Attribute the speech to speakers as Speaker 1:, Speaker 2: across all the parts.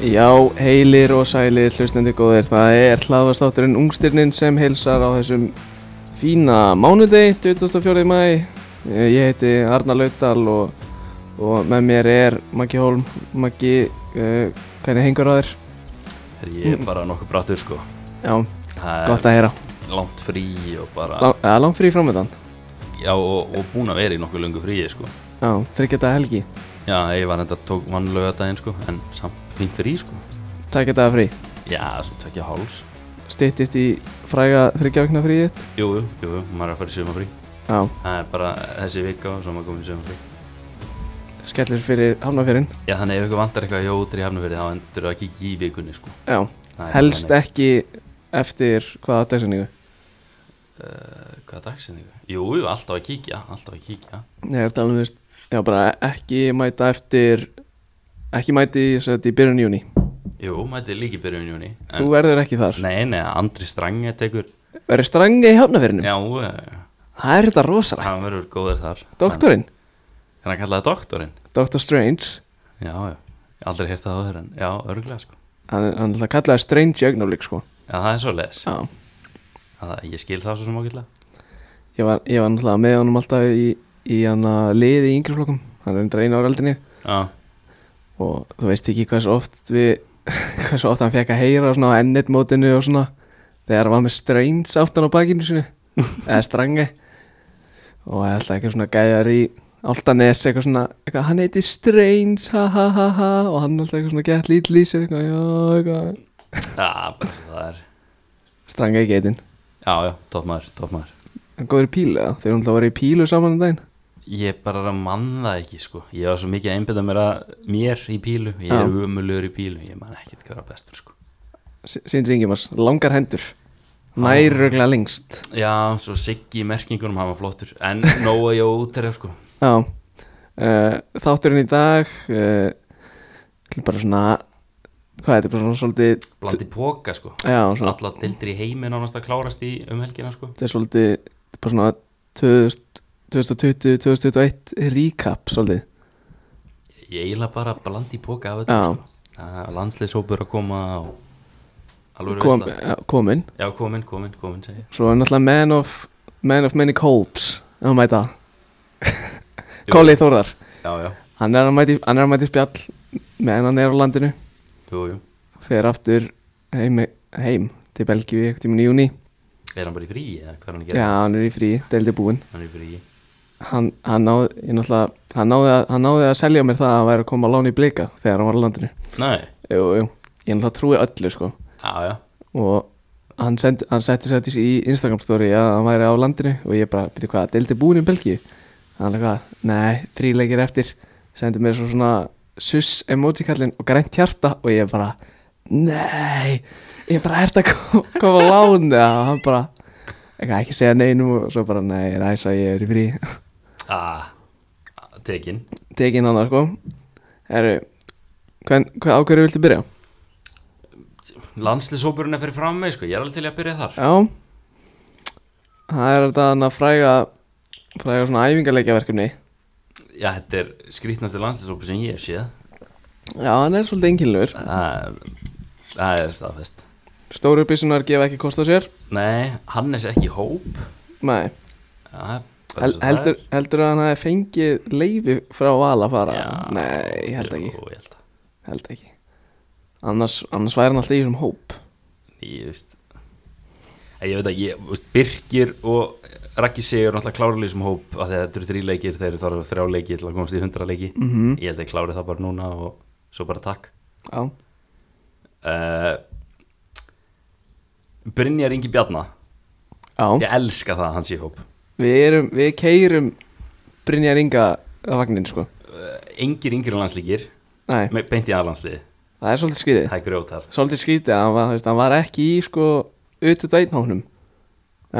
Speaker 1: Já, heilir og sælir hlustandi góðir, það er hlaðvastátturinn Ungstirnin sem heilsar á þessum fína mánudegi, 24. mæ. Eh, Ég heiti Arnar Laudal og, og með mér er Maggi Holm. Maggi, uh, hvernig hengur á þér?
Speaker 2: Þegar ég er bara nokkuð brattur sko
Speaker 1: Já,
Speaker 2: Það
Speaker 1: Mm. gott að heyra.
Speaker 2: er langt frí og bara
Speaker 1: Lang, eða langt frí framöndan?
Speaker 2: Já og, og búin að vera í nokkuð lungu fríi sko
Speaker 1: Já, þryggja daga helgi,
Speaker 2: Já ég var enda tók vannlega daginn sko En samt fínt frí sko
Speaker 1: tækja daga frí.
Speaker 2: Já sem tekja háls
Speaker 1: Styttist í fræga þryggja vikna fríið þitt?
Speaker 2: Jú jú jú jú maður er að fara í sumafrí
Speaker 1: Já,
Speaker 2: Það er bara þessi vika og svo maður komið í sumafrí
Speaker 1: skellir fyrir hafnafjörinn.
Speaker 2: Já þannig ef ykkur vantar eitthvað hjá útri hafnafyrir þá endur það ekki í vikunni sko
Speaker 1: Já,
Speaker 2: Það er
Speaker 1: helst
Speaker 2: þannig.
Speaker 1: ekki eftir hvaða dagsendingu. Eh,
Speaker 2: Uh, Hvaða dagsinn ykkur? Jú jú alltaf að kíkja Alltaf að kíkja
Speaker 1: Nei, þetta alveg um, veist Já, bara ekki mæta eftir Ekki mæti þess að í byrjun júni
Speaker 2: Jú mæti líki byrjun í júni
Speaker 1: Þú verður ekki þar
Speaker 2: Nei nei Andri Strange tekur
Speaker 1: Verður strangi í hafnafyrinu
Speaker 2: Já eh,
Speaker 1: Það er þetta rosalega
Speaker 2: hann verður góður þar
Speaker 1: Doktorinn,
Speaker 2: En hann kallaði doktorinn
Speaker 1: Dr. Strange
Speaker 2: Já, já, Ég aldrei heyrt það áður en já, örgulega sko
Speaker 1: Hann, hann alltaf kallaði Strange í augnaflik sko
Speaker 2: Já, það er svo leiðis
Speaker 1: Já
Speaker 2: Ég skil það svo sem ágætlega
Speaker 1: Ég var, ég var náttúrulega með honum alltaf í, í hann að liði í yngri flokkum Hann er undir einu ára eldinni
Speaker 2: Já,
Speaker 1: Og þú veist ekki hversu oft við Hversu oft hann fekk að heyra svona á ennett mótinu og svona Þegar hann var með Strange áttan á bakinu sinu Eða strangi Og ég ætla eitthvað svona gæjar í Altanes eitthvað svona eitthvað, Hann heiti Strange ha ha ha ha Og hann alltaf eitthvað svona gett lítil í sér eitthvað, já, eitthvað.
Speaker 2: já, bara svo það er
Speaker 1: Strangi í geitin
Speaker 2: Já, já, toppmaður, toppmaður
Speaker 1: Hann góður í pílu eða? Þeir eru alltaf að vera í pílu saman um daginn
Speaker 2: Ég bara er að mann það ekki sko Ég var svo mikið að einbyrða mér að mér í pílu Ég er
Speaker 1: Já.
Speaker 2: umulugur í pílu Ég man ekkert hvað er að bestur sko
Speaker 1: S- Sindri Ingimars, langar hendur Næruglega lengst
Speaker 2: Já, svo Siggi í merkingunum, hann var flottur En nóa ég útæri sko
Speaker 1: Já, uh, þátturinn í dag uh, bara svona hvað er þetta, bara svona svolítið
Speaker 2: Blandi póka sko
Speaker 1: já, svona,
Speaker 2: Alla dildri í heiminn ánast að klárast í um helgina sko
Speaker 1: þetta er svolítið bara svona 2000 2020, 2021 recap svolítið,
Speaker 2: Ég eiginlega bara blandi í póka af þetta
Speaker 1: Já.
Speaker 2: sko. Það er landsliðshópur að koma og alveg
Speaker 1: Kom,
Speaker 2: veist það
Speaker 1: já, komin
Speaker 2: Já, komin, komin, komin segi ég.
Speaker 1: svo er náttúrulega man of man of many colps, ef hann mæta
Speaker 2: Jú.
Speaker 1: Kóli Þórðar
Speaker 2: Já, já,
Speaker 1: hann er að mæti, hann er að mæti spjall meðan hann er á landinu
Speaker 2: jú, jú
Speaker 1: fer aftur heim, heim til Belgíu í tímun í júni
Speaker 2: Er hann bara í fríi eða hvað er hann að
Speaker 1: já,
Speaker 2: gera?
Speaker 1: hann er í frí, deildi búinn
Speaker 2: Hann er í fríi
Speaker 1: hann, hann, náði, ég náttúrulega- hann, náði að, hann náði að selja mér það að hann væri að koma að lána í blika þegar hann var á landinu
Speaker 2: Nei,
Speaker 1: jú, jú. ég náttúrulega trúi öllu sko.
Speaker 2: já, já
Speaker 1: og hann, send, hann setti sætti í Instagram story að hann væri á landinu og ég bara, veitir hvað, deildi búin í Belgíu hann er hvað, nei, þríleikir eftir sendi mér svo svona sus emoji kallinn og grænt hjarta og ég bara, nei ég bara, ert að koma, koma að lána og hann bara, eitthvað, ekki segja neinum og svo bara, nei, ræsa, ég er í frí
Speaker 2: ah, Tekin
Speaker 1: tekin hann sko Herru, hvern, hvað ákverju viltu byrja?
Speaker 2: Landsliðshópurinn er fyrir fram með sko Ég er alveg til í að byrja þar
Speaker 1: Já Það er þetta hann að fræga fræga svona æfingarleikjaverkefni
Speaker 2: Já, þetta er skrýtnasti landsliðshópur sem ég hef séð
Speaker 1: Já, hann er svolítið einkilnur
Speaker 2: Það það er staðfest
Speaker 1: Stóru byssunar gefa ekki kost á sér
Speaker 2: Nei, Hannes ekki í hóp
Speaker 1: Nei,
Speaker 2: Það er bara
Speaker 1: Hel,
Speaker 2: eins og það er.
Speaker 1: heldur, heldur að hann hafi fengið leifi frá val að fara? Nei, ég held ekki,
Speaker 2: Jú, ég held að
Speaker 1: held ekki. Annars, annars væri hann alltaf í þessum hóp
Speaker 2: ég veist Æ, ég veit að ég, veist, Birgir og Raggi Sigur náttúrulega klárlega í þessum hóp að þegar þetta eru þrý leikir, þeir eru þarf þrjá leiki til að komast í hundra leiki
Speaker 1: Mhm.
Speaker 2: ég held að ég klári það bara núna og svo bara takk
Speaker 1: Já,
Speaker 2: uh, Brynjar Ingi Bjarna
Speaker 1: já.
Speaker 2: ég elska það að hans í hóp
Speaker 1: Við, erum, við keirum Brynjar Inga vagnin sko
Speaker 2: uh, engir yngri landslíkir
Speaker 1: Nei,
Speaker 2: me- beint í aðlandsliði,
Speaker 1: það er svolítið skriðið
Speaker 2: það er grjótart
Speaker 1: svolítið skrítið að hann var, þú veist, hann var ekki í sko auðvitað dætnáknum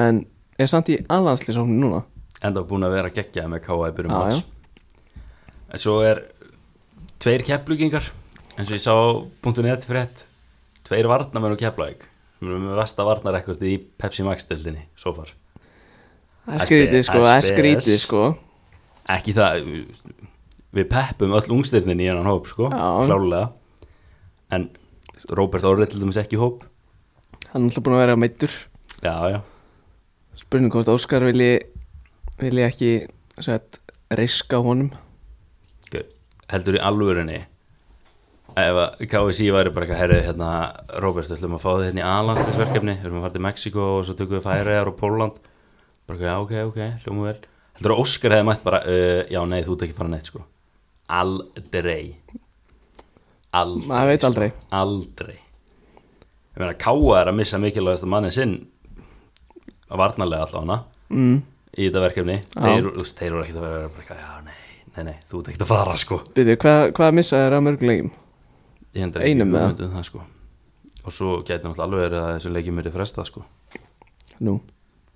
Speaker 1: en er samt í allanslýsáknum núna
Speaker 2: enda búin að vera geggjað með K.A. í byrjum
Speaker 1: Já,
Speaker 2: mats en svo er tveir keplugingar eins og ég sá .net frétt tveir varnamenn og keplaug við erum með vesta varnarekkord í Pepsi Max deildinni svo far
Speaker 1: það er skrítið sko, það er skrítið sko
Speaker 2: ekki það við peppum öll ungstyrnin í hennan hóp sko
Speaker 1: Já.
Speaker 2: klálega en Róbert Orrið til dæmis ekki í hóp
Speaker 1: Hann er alltaf búin að vera meittur
Speaker 2: já, já,
Speaker 1: Spurning hvort Óskar vilji vilji ekki sett, riska honum
Speaker 2: Gjör. heldur í alvörunni ef að KSI væri bara eitthvað herrið hérna, Róbert, ætlum að fá þið hérna í aðlandslisverkefni við erum að fara til Mexiko og svo tökum við Færiðar og Pólland bara eitthvað, já, ok, ok, hljómu vel heldur að Óskar hefði mætt bara uh, já, nei, þú ert ekki að fara neitt, sko aldrei aldrei,
Speaker 1: Maður veit
Speaker 2: sko.
Speaker 1: aldrei.
Speaker 2: aldrei ég meina, Káa er að missa mikilvægast að manni sinn að varnarlega allavega
Speaker 1: mm.
Speaker 2: í þetta verkefni þeir, þú veist, þeir eru ekkert að vera bara eitthvað, já, nei, nei, nei, þú ert ekkert að fara sko
Speaker 1: Byrju, hvað, hvað missa þér að mörgulegjum?
Speaker 2: Ég hendur
Speaker 1: Einum eða?
Speaker 2: ekki það sko og svo gæti náttúrulega alveg verið að þessum leikjum eru frestað sko
Speaker 1: Nú,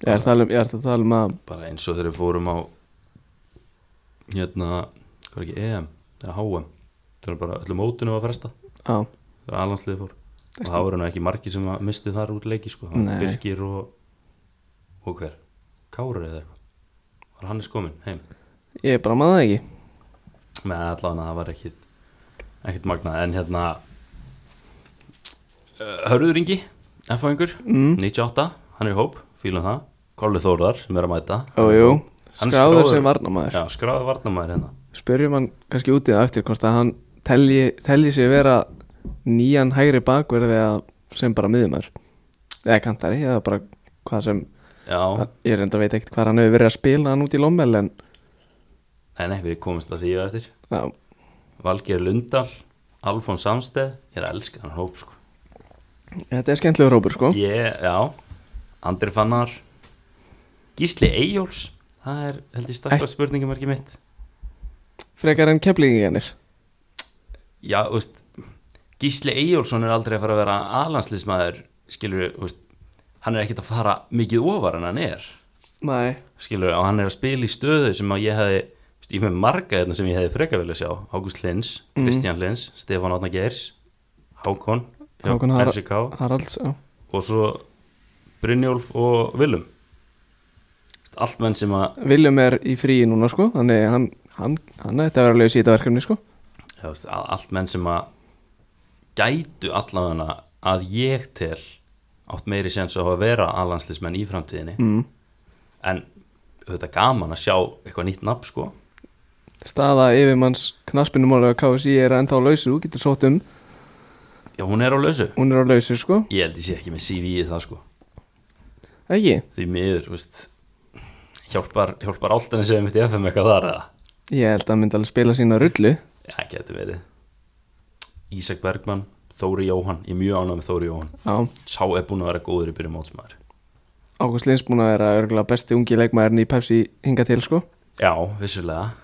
Speaker 1: ég er að tala um, ég er að tala um að
Speaker 2: bara eins og þegar við fórum á hérna hvað er ekki, EM eða HM það er bara öllum mótunum að fresta
Speaker 1: á,
Speaker 2: það er alhansliðið fór og það voru nú ekki margi sem að mistu þar út leiki sko það
Speaker 1: Nei.
Speaker 2: var Birgir og og hver, Kárur eða eitthvað var Hannes kominn heim
Speaker 1: ég bara maður það ekki
Speaker 2: með allavega það var ekkit ekkit magnað en hérna uh, Hörður Ingi F-fáingur,
Speaker 1: mm.
Speaker 2: 98 hann er í hóp, fílum það Kolli Þórðar sem er að mæta
Speaker 1: Jú, jú,
Speaker 2: Hann er
Speaker 1: skráður
Speaker 2: skráður.
Speaker 1: sem varnamaður
Speaker 2: Já, skráðu varnamæður hérna
Speaker 1: Spyrjum hann kannski út í það eftir hvort að hann telji, telji sér vera nýjan hægri bakverði að sem bara miðumar eða kantari, eða bara hvað sem
Speaker 2: Já,
Speaker 1: ég reynda veit ekkert hvað hann hefur verið að spila hann út í lommel en
Speaker 2: nei, nei, við komumst að því á eftir
Speaker 1: já,
Speaker 2: Valgeir Lundal, Alfons Samsteð ég er að elska hann hóp sko
Speaker 1: þetta er skemmtilegur hópur sko
Speaker 2: Ég, já, Andri Fannar Gísli Eyjóls það er held ég stærsta spurningum er mitt
Speaker 1: frekar en keflinginganir
Speaker 2: Já, þú veist, Gísli Eyjólfsson er aldrei að fara að vera aðlandslismæður, skilur, veist, hann er ekkert að fara mikið ofar en hann er,
Speaker 1: Nei,
Speaker 2: skilur, og hann er að spila í stöðu sem að ég hefði, þú veist, ég með marga þarna sem ég hefði freka vilja sjá, Ágúst Lins,
Speaker 1: Mhm.
Speaker 2: Kristján Lins, Stefán Átna Geirs, Hákon, hjá
Speaker 1: Hákon Har-
Speaker 2: FCK
Speaker 1: Haralds já.
Speaker 2: og svo Brynjólf og Willum. Þú veist, Allt menn sem að,
Speaker 1: Willum er í fríi núna sko þannig hann, hann, hann ætti að vera að lögja síta verkefni sko
Speaker 2: já, þú veist, a- allt menn sem að gætu allavega að ég tel átt meiri séns á að vera aðlandslismenn í framtíðinni
Speaker 1: mm.
Speaker 2: en þetta gaman að sjá eitthvað nýtt nafn sko
Speaker 1: Staða yfirmanns knaspinum ára KSI er ennþá á lausu, þú getur sótt um
Speaker 2: já hún er á lausu
Speaker 1: hún er á lausu sko,
Speaker 2: ég held ég sé ekki með CV í það sko
Speaker 1: ekki
Speaker 2: því miður þú veist, hjálpar, hjálpar áltan sem mitt í FM eitthvað þar eða
Speaker 1: ég held að hann myndi alveg spila sína rullu
Speaker 2: já geti verið Ísak Bergmann Þóri Jóhann ég er mjög ánægð með Þóri Jóhann
Speaker 1: á,
Speaker 2: sá er búin að vera góður í byrjum mótsmaður
Speaker 1: Ágúst Lins búin að vera örgulega besti ungi leikmaðurinn í Pepsi hinga til sko
Speaker 2: Já, vissulega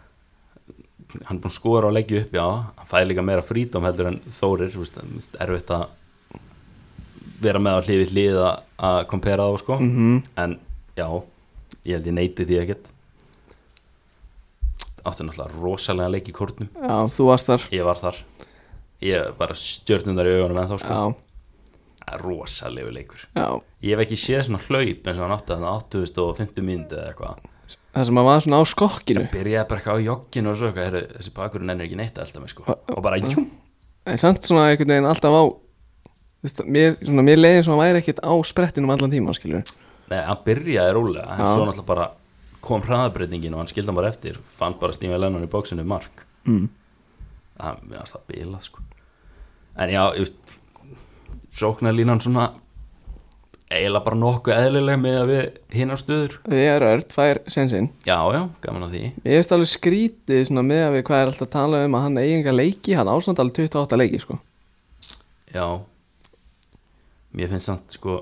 Speaker 2: hann er búinn að skora og leggja upp já, hann fæði líka meira frítóm heldur en Þórir þú veist, það er mest erfitt að vera með á hlifi hlið að- að kompera þá sko
Speaker 1: mm
Speaker 2: en já, ég held ég neyti því ekkert áttu náttúrulega rosalega leik í kórnum
Speaker 1: já, þú varst þar
Speaker 2: ég var þar ég var bara stjörnundar í augunum en þá sko
Speaker 1: já,
Speaker 2: Það er rosalegu leikur
Speaker 1: já,
Speaker 2: ég hef ekki séð svona hlaup eins og hann átti þannig 8050 myndu eða eitthvað
Speaker 1: það sem að maður svona á skokkinu
Speaker 2: byrjaði bara eitthvað á jogginu og svo eitthvað heyrðu, þessi bakurinn ennir ekki neitt að elda mig sko
Speaker 1: Hva-
Speaker 2: og bara jú,
Speaker 1: en samt svona einhvern veginn alltaf á þú veist, mér, svona, mér leiði svo að væri ekkert á sprettinum allan tíma skilur
Speaker 2: nei, hann byrjaði rólega en
Speaker 1: Já.
Speaker 2: svo náttúrulega bara kom hraðabreitingin og hann skildi hann bara eftir fann bara Stíma Lennon í bóksinu mark
Speaker 1: mm.
Speaker 2: það mér fannst það bila sko en já, ég veist sóknarlínan svona eiginlega bara nokkuð eðlileg með að við hinnar stöður,
Speaker 1: ég er öll, fær sensinn
Speaker 2: já já, gaman að því
Speaker 1: ég veist alveg skrítið svona með að við hvað er alltaf að tala um að hann eigi enga leiki hann ásand alveg 28 leiki sko
Speaker 2: já mér finnst samt sko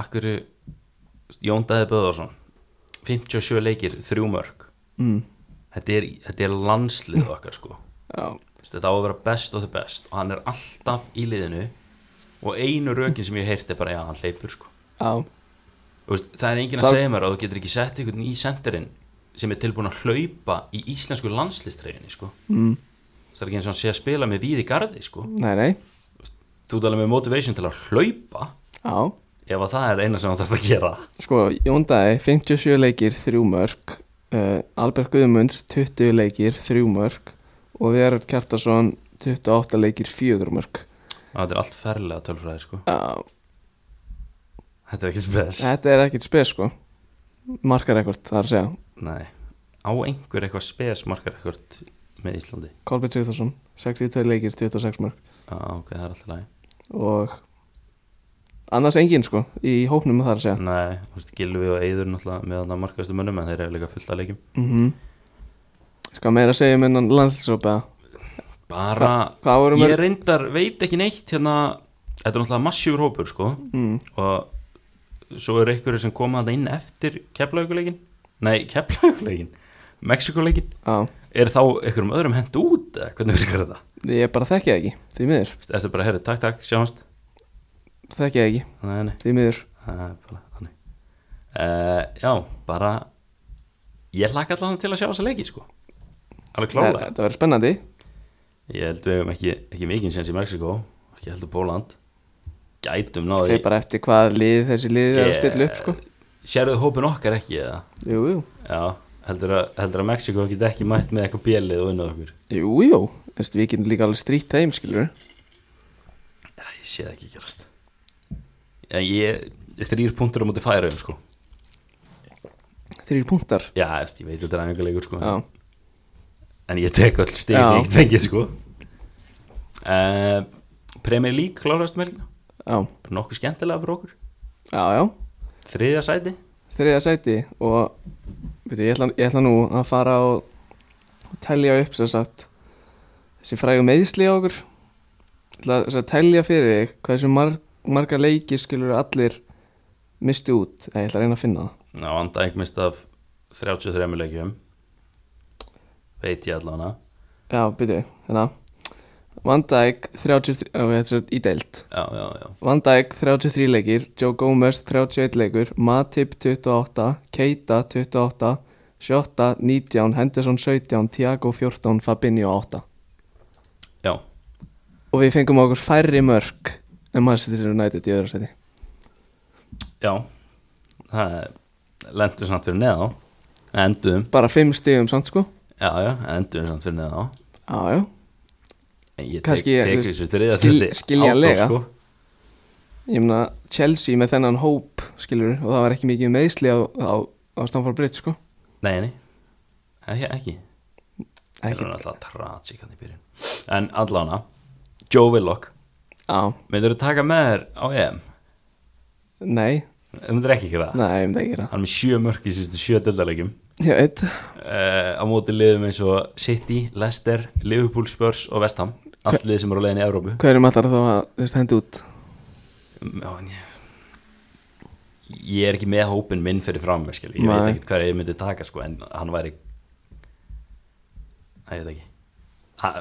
Speaker 2: akkur Jón Dæði Böðarsson 57 leikir, þrjú mörg
Speaker 1: mm.
Speaker 2: þetta er, þetta er landslið okkar sko
Speaker 1: já,
Speaker 2: Þú veist, þetta á að vera best og the best og hann er alltaf í liðinu og einu rökin sem ég heyrti er bara já, hann hleypur sko
Speaker 1: já,
Speaker 2: Þú veist, það er enginn að
Speaker 1: Það-
Speaker 2: segja mér að þú getur ekki sett einhvern í senderinn sem er tilbúin að hlaupa í íslensku landslistreifinni sko
Speaker 1: mm.
Speaker 2: það er ekki eins og hann sé að spila með víði gardi sko
Speaker 1: nei, nei
Speaker 2: þú talar með motivation til að hlaupa
Speaker 1: já,
Speaker 2: ef að það er eina sem hann þarf að gera
Speaker 1: Sko, Jón Dæði, 57 leikir, eh, 3 mörg uh, Albert Guðmunds, 20 leikir, 3 mörg og Verard Kjartason, 28 leikir fjögur mörg
Speaker 2: Þetta er allt ferlega tölfræði sko
Speaker 1: Já,
Speaker 2: Þetta er ekki spes
Speaker 1: þetta er ekkert spes sko markar ekkert, það er að segja
Speaker 2: Nei, á einhver eitthvað spes markar ekkert með Íslandi
Speaker 1: Kolbjörn Sigþórsson, 62 leikir, 26 mörg
Speaker 2: Já, ok, það er alltaf læg
Speaker 1: og annars engin sko í hópnum það er að segja
Speaker 2: Nei, þú veist, Gilvi og Eyður náttúrulega með þarna markaðustu mönnum en þeir eru líka fullt að leikjum
Speaker 1: mm Ska meira að segja um innan landslýsópa
Speaker 2: Bara,
Speaker 1: Hvað voru
Speaker 2: ég
Speaker 1: mörg?
Speaker 2: reyndar, veit ekki neitt hérna Þetta er náttúrulega massífur hópur, sko
Speaker 1: Mm,
Speaker 2: Og svo eru einhverju sem koma þarna inn eftir keflauguleikin Nei, keflauguleikin Mexikoleikin
Speaker 1: á,
Speaker 2: Er þá einhverjum öðrum hent út, eða hvernig virkar þetta?
Speaker 1: ég bara þekki það ekki, því miður
Speaker 2: Þú veist, Ertu bara, herri, takk, takk, sjáumst
Speaker 1: Þekki það ekki,
Speaker 2: Nei, nei
Speaker 1: því miður
Speaker 2: Það er bara þannig uh, Já, bara Ég hlakka allan til að sjá þessa leiki sko Alveg
Speaker 1: Það
Speaker 2: klála
Speaker 1: verður spennandi
Speaker 2: Ég held við hefum ekki, ekki mikinn sens í Mexiko Ekki heldur Póland Gætum náði
Speaker 1: Þeir bara eftir hvað lið þessi lið er að
Speaker 2: Ég-
Speaker 1: stilla upp sko
Speaker 2: Sérðu hópin okkar ekki eða
Speaker 1: Jú, jú,
Speaker 2: Já, heldur að, heldur að Mexiko geti ekki mætt með eitthvað bjölið og unnað okkur
Speaker 1: jú, jú Þessi, Við getum líka alveg strýtt þeim skilur
Speaker 2: Já, ég sé það ekki gerast Já, ég Þrýr punktur á móti færaum sko
Speaker 1: Þrýr punktar
Speaker 2: Já, eftir, ég veit þetta er aðeins leikur sko
Speaker 1: Já,
Speaker 2: En ég tek öll stig
Speaker 1: Já.
Speaker 2: sem ég fengið sko uh, Premier League klárast með helgina
Speaker 1: já,
Speaker 2: Bara Nokkuð skemmtilega fyrir okkur
Speaker 1: já, já
Speaker 2: Þriðja sæti
Speaker 1: Þriða sæti og veitu, ég, ætla, ég ætla nú að fara og, og telja upp sem sagt þessi frægu meðsli á okkur Ég ætla að- að telja fyrir þig hversu mar, marga leiki skilur allir misti út Nei, ég ætla að reyna að finna það
Speaker 2: Ná, anda ekki mist af 33 leikjum Veit ég allan að
Speaker 1: Já, byrju, hérna Van Dijk 33, ó, þetta er sem sagt í deild
Speaker 2: Já, já, já
Speaker 1: Van Dijk 33 leikir, Joe Gomez 31 leikur, Matip 28, Keita 28, Shota 19, Henderson 17, Thiago 14, Fabinho 8
Speaker 2: Já,
Speaker 1: Og við fengum okkur færri mörg en Manchester United í öðru seti
Speaker 2: já Það er Lendum samt fyrir neða Endum
Speaker 1: Bara 5 stigum samt sko
Speaker 2: um. Já, já, endum samt fyrir neða
Speaker 1: Já, já,
Speaker 2: En ég tek,
Speaker 1: Kannski ég, þú
Speaker 2: tek
Speaker 1: veist,
Speaker 2: þessu þriðja
Speaker 1: skil-
Speaker 2: sæti
Speaker 1: skiljanlega.
Speaker 2: ádótt, sko.
Speaker 1: ég meina Chelsea með þennan hóp skilur og það var ekki mikið meðsli á, á, á Stamford Bridge sko
Speaker 2: Nei, nei Ekki, ekki Það er
Speaker 1: Ekki,
Speaker 2: alltaf tragic hann í byrjun En allána, Joe Willock
Speaker 1: á,
Speaker 2: Myndur þú taka með þér á EM?
Speaker 1: nei,
Speaker 2: Það myndur ekki gera það
Speaker 1: nei, ég myndi ekki gera það
Speaker 2: Hann er með sjö mörk í síðustu sjö dildalegjum
Speaker 1: Ég veit,
Speaker 2: uh, Á móti liðum eins og City, Leicester, Liverpool, Spurs og West Ham Allt liðið sem eru á leiðin í Evrópu
Speaker 1: hverjum allar þá að þú veist, hendi út
Speaker 2: Já, en ég Ég er ekki með hópin minn fyrir fram skil. Ég veit
Speaker 1: Nei.
Speaker 2: ekkert hvað ég myndi taka sko, En hann væri Æ, ég veit ekki ha,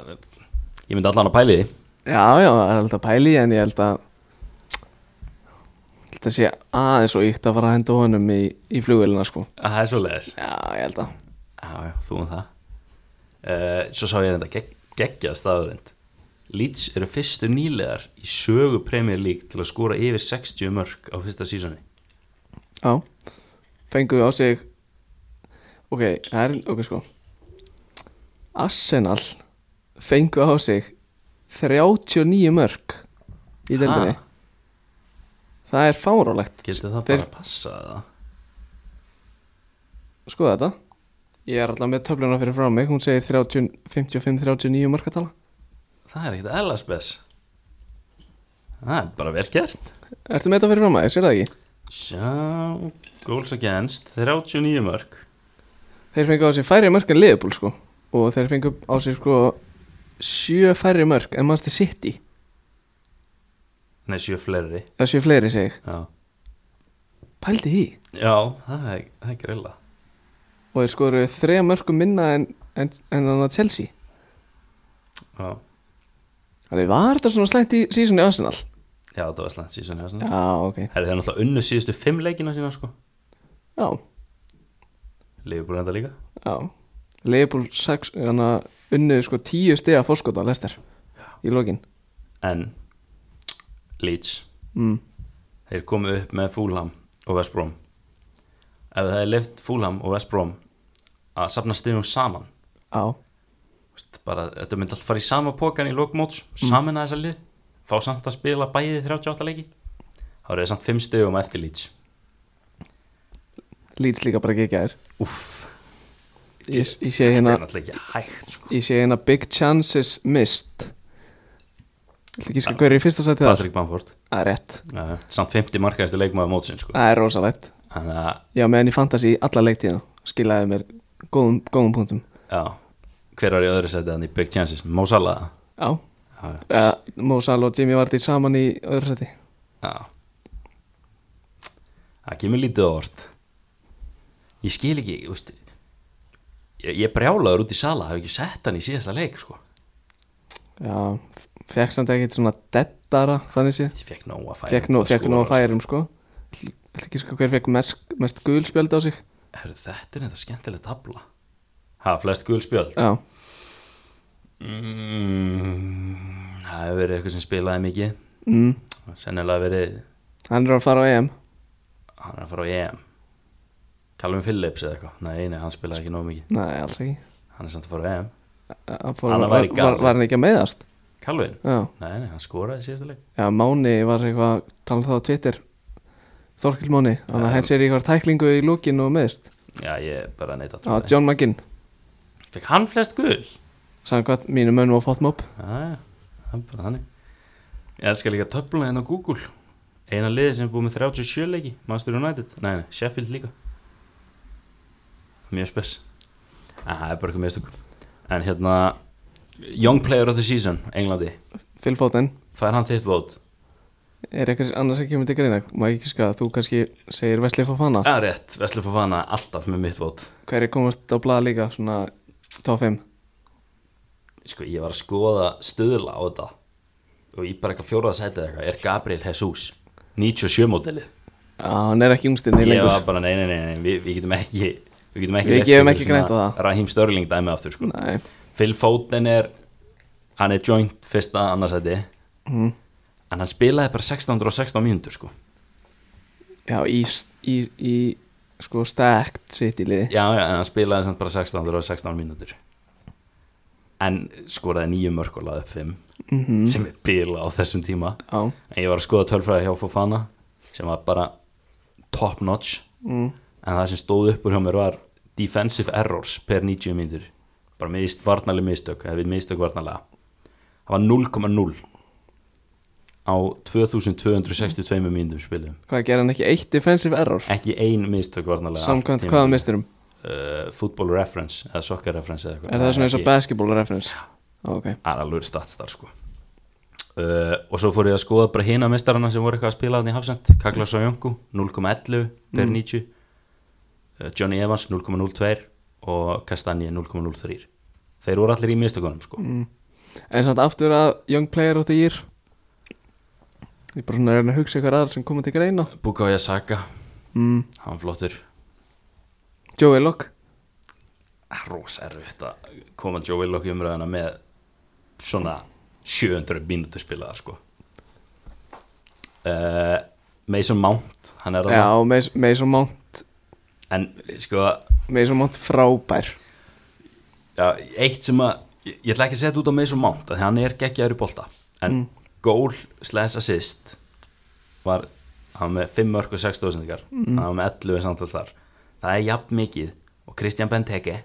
Speaker 2: Ég myndi allan að pæli því
Speaker 1: Já, já, það er alltaf pæli í, en ég held að Þetta sé aðeins og ykt að fara að henda honum í, í flugvélina sko
Speaker 2: Það er svo leiðis
Speaker 1: Já, ég held að
Speaker 2: Já, já, þú um það uh, Svo sá ég þetta gegg, geggjað staðurind Leeds eru fyrstu nýlegar í sögu Premier League til að skora yfir 60 mörg á fyrsta sísoni
Speaker 1: Já, fengu á sig Ok, það er, ok sko Arsenal fengu á sig 39 mörg í deildinni
Speaker 2: Ha?
Speaker 1: Það er fárálegt
Speaker 2: Getur það
Speaker 1: Þeir-
Speaker 2: bara að passa það?
Speaker 1: Skoða þetta Ég er alltaf með töfluna fyrir frá mig Hún segir 30 55-39 mörgatala
Speaker 2: Það er ekkert eðla spes Það er bara vel gert
Speaker 1: Ertu með þetta fyrir frá mig, sér það ekki?
Speaker 2: Sjá, goals against 39 mörg
Speaker 1: Þeir fengu á sig færri mörg en Liverpool sko Og þeir fengu á sig sko Sjö færri mörg en Manchester City
Speaker 2: Nei, sjö fleiri
Speaker 1: Það sjö fleiri segi ég.
Speaker 2: Já,
Speaker 1: Pældi því
Speaker 2: Já það er, það er grilla
Speaker 1: Og þeir skoru þreja mörgum minna en En, en hann að Chelsea
Speaker 2: Já,
Speaker 1: Þannig var þetta svona slæmt í sísunni Arsenal
Speaker 2: já það var slæmt sísoni Það
Speaker 1: Já, ok
Speaker 2: er það náttúrulega unnu síðustu fimm leikina sína sko
Speaker 1: Já,
Speaker 2: Leifur búin þetta líka
Speaker 1: já Liverpool 6 Þannig að unnu sko tíu stiga fórskota Lester Í lokin
Speaker 2: en Leeds,
Speaker 1: mm.
Speaker 2: þeir komu upp með Fulham og West Brom ef það er leift Fulham og West Brom að safna stigum saman
Speaker 1: Já,
Speaker 2: þú veist, bara, þetta myndi allt fara í sama pókan í lokmóts,
Speaker 1: Mm.
Speaker 2: samina þessa lið fá samt að spila bæði 38 leiki þá eru þið samt 5 stöðum eftir Leeds
Speaker 1: Leeds líka bara gegjaðir
Speaker 2: Úff,
Speaker 1: Ég, ég sé hérna
Speaker 2: Þetta er náttúrulega ekki hægt sko.
Speaker 1: Ég sé hérna Big Chances Missed Þetta ekki skal hverju í fyrsta sæti þar
Speaker 2: Patrick Bamford
Speaker 1: Það er rétt,
Speaker 2: uh, samt 50 markaðist leikmaður mótsinn sko.
Speaker 1: það er rosalegt
Speaker 2: þannig að,
Speaker 1: Já, meðan ég fantast í alla leiktíðina skilaði mér góðum, góðum punktum
Speaker 2: já hver var í öðru setið hann í Big Chances, Mo Salah
Speaker 1: Já,
Speaker 2: já,
Speaker 1: uh, Mo Salah og Jimmy Vardy saman í öðru sæti
Speaker 2: já það kemur lítið á orð ég skil ekki ég, veist, ég, ég brjálaður út í Salah hef ekki sett hann í síðasta leik sko.
Speaker 1: Já, fekk samt ekkert svona deadara þannig sé
Speaker 2: ég fekk nóg að færa
Speaker 1: Fekk nú, fekk nú að færum sko Þetta ekki skal hver fekk mest, mest gulspjöld á sig
Speaker 2: Heru, þetta er þetta skemmtileg tabla ha, flest gul spjöld
Speaker 1: Já,
Speaker 2: mm, það hefur verið eitthvað sem spilaði mikið
Speaker 1: mm.
Speaker 2: sennilega verið
Speaker 1: hann er að fara á EM
Speaker 2: hann er að fara á EM Callum Phillips eða eitthvað nei, nei, hann spilaði ekki nóg mikið
Speaker 1: Nei, alls ekki
Speaker 2: hann er samt að fara á EM
Speaker 1: Hann fór,
Speaker 2: Hann
Speaker 1: var,
Speaker 2: var í
Speaker 1: var,
Speaker 2: Ghana.
Speaker 1: var hann ekki að meðast?
Speaker 2: Callum,
Speaker 1: Já,
Speaker 2: nei, nei, hann skoraði í síðasta leik
Speaker 1: Já Máni var eitthvað talað þá á Twitter Þorkil Máni Þannig að henn sér eitthvað tæklingu í lókin og meðist
Speaker 2: já, ég bara neita að
Speaker 1: Já,
Speaker 2: trúa
Speaker 1: John McGinn
Speaker 2: því fekk hann flest gul
Speaker 1: Sæðan hvað mínu mönnum á Fotmob
Speaker 2: já, já, það er bara þannig ég elskar líka töfluna hérna á Google eina liði sem er búið með 37 leiki Master United, nei, nei, Sheffield líka mjög spes Æ, það er bara eitthvað meðstökum en hérna, Young Player of the Season Englandi,
Speaker 1: Phil Foden
Speaker 2: fær hann þitt vót
Speaker 1: Er eitthvað annars ekki myndi greina Má ekki skada Þú kannski segir Vesli Fofana
Speaker 2: Já, rétt, Veslu Fofana alltaf með mitt vót
Speaker 1: Hver er komast á blað líka Svona top 5
Speaker 2: Sko, ég var að skoða stöðla á þetta og ég bara eitthvað fjóraða sætið eitthvað er Gabriel Jesus 97 mótelið
Speaker 1: Já, hann er ekki yngstinn í
Speaker 2: Ég
Speaker 1: lengur
Speaker 2: var bara, nei, nei, nei, nei við, við getum ekki við getum ekki,
Speaker 1: Við
Speaker 2: leyft
Speaker 1: gefum
Speaker 2: ykkur
Speaker 1: ekki
Speaker 2: svona
Speaker 1: grænt á það.
Speaker 2: Raheem Störling dæmi aftur, sko
Speaker 1: Nei
Speaker 2: Phil Foden er hann er joint fyrsta annarsæti
Speaker 1: mm.
Speaker 2: en hann spilaði bara 616 mínútur, sko
Speaker 1: Já, í, í, í Sko stacked sitt í liði
Speaker 2: Já, já, en hann spilaði samt bara 616 mínútur en skoraði nýju mörk og laði upp 5
Speaker 1: Mhm.
Speaker 2: sem er bila á þessum tíma
Speaker 1: Já
Speaker 2: En ég var að skoða tölfræði hjá Fofana sem var bara top notch
Speaker 1: mm.
Speaker 2: en það sem stóð upp úr hjá mér var defensive errors per 90 mínútur bara mist, varnalið mistök eða við mistök varnalega það var 0,0 á 2262 mínútum spilum
Speaker 1: Hvað gerir hann ekki eitt defensive error?
Speaker 2: ekki ein mistök varnalega
Speaker 1: Samkvæmt hvaða misturum?
Speaker 2: uh, football reference eða soccer reference eða eitthvað
Speaker 1: Er það svona eins og
Speaker 2: Ekki-
Speaker 1: basketball reference? Ok,
Speaker 2: Það er alveg statstar sko uh, og svo fór ég að skoða bara hina mestarana sem voru eitthvað að spila þannig í Hafsend Kaklas og Jöngu 0,11 per 90 uh, Johnny Evans 0,02 og Kastanje 0,03 þeir voru allir í mistökunum sko
Speaker 1: en samt aftur að Young Player of the Year Ég er bara svona að reyna að hugsa ykkur aðra sem koma til greina
Speaker 2: Bukaoya Saka,
Speaker 1: mm.
Speaker 2: hann flottur
Speaker 1: Joey Locke
Speaker 2: Ah, rosa erfitt að koma Joe Willock í umræðina með svona 700 mínútu spilaðar sko uh, Mason Mount hann er
Speaker 1: Já,
Speaker 2: það
Speaker 1: Mason Mason Mount
Speaker 2: en sko
Speaker 1: Mason Mount frábær
Speaker 2: Já, eitt sem að ég, ég ætla ekki að setja út á Mason Mount af því hann er geggjaður í bolta en goal slash assist var hann var með 5 mörg og 6 stóðsendingar hann var með 11 samtals þar það er jafn mikið og Kristján Benteke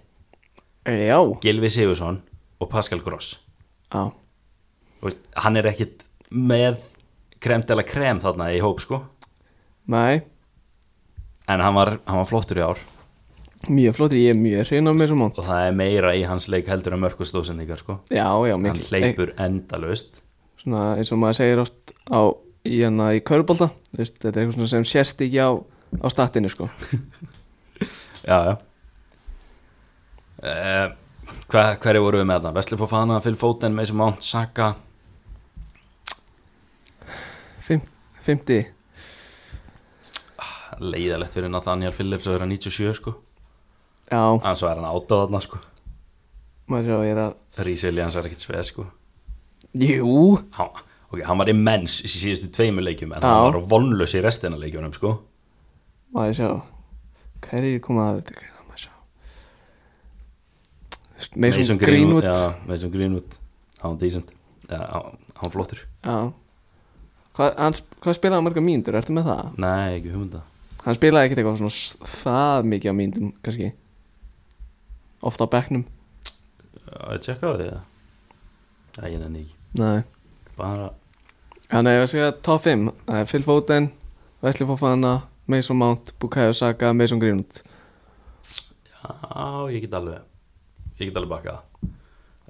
Speaker 1: Já,
Speaker 2: Gilvi Sigursson og Pascal Gross
Speaker 1: já,
Speaker 2: og veist, hann er ekkit með kremt eða krem þarna í hóp sko
Speaker 1: nei
Speaker 2: en hann var, hann var flottur í ár
Speaker 1: Mjög flottir, ég er mjög hrein á Mason Mount
Speaker 2: og það er meira í hans leik heldur en mörg og stóðsendingar sko
Speaker 1: Já, já,
Speaker 2: hann
Speaker 1: mikil e,
Speaker 2: hleypur endalaust
Speaker 1: Svona eins og maður segir oft á í hana í körubolta Þú veist, Þetta er eitthvað svona sem sérst ekki á, á statinu sko
Speaker 2: Já, já uh, hva, Hverju voru við með þetta? Vesli Fofana, Phil Foden, Mason Mount, Saka
Speaker 1: Fim, 50
Speaker 2: Leiðalegt fyrir Nathaniel Phillips að vera 97 sko
Speaker 1: Já,
Speaker 2: En svo er hann átað þarna sko
Speaker 1: maður sjá, ég er að
Speaker 2: Rísi Elians er ekkit sveð sko
Speaker 1: Jú,
Speaker 2: hann, Ok, hann var immens í síðustu tveimu leikjum En
Speaker 1: Já.
Speaker 2: hann var vonlaus í restina leikjunum sko
Speaker 1: maður sjá Hverjir koma að þetta greina, maður sjá Mason, Mason Greenwood,
Speaker 2: já, Mason Greenwood hann decent já, hann- hann flottur
Speaker 1: Já Hvað, hann, sp- hvað spilaði hann marga mínútur, ertu með það?
Speaker 2: nei, ekki hugmynda
Speaker 1: Hann spilaði ekkert eitthvað svona s- það mikið á mínútum, kannski Oft á bekknum
Speaker 2: að tjekka á því eða? já, ég nenni ekki
Speaker 1: Nei
Speaker 2: bara
Speaker 1: Þannig að ég var að segja top 5 Það er Phil Foden, Wesley Fofana, Mason Mount, Bukayo Saka, Mason Greenwood
Speaker 2: já, ég get alveg ég get alveg bakað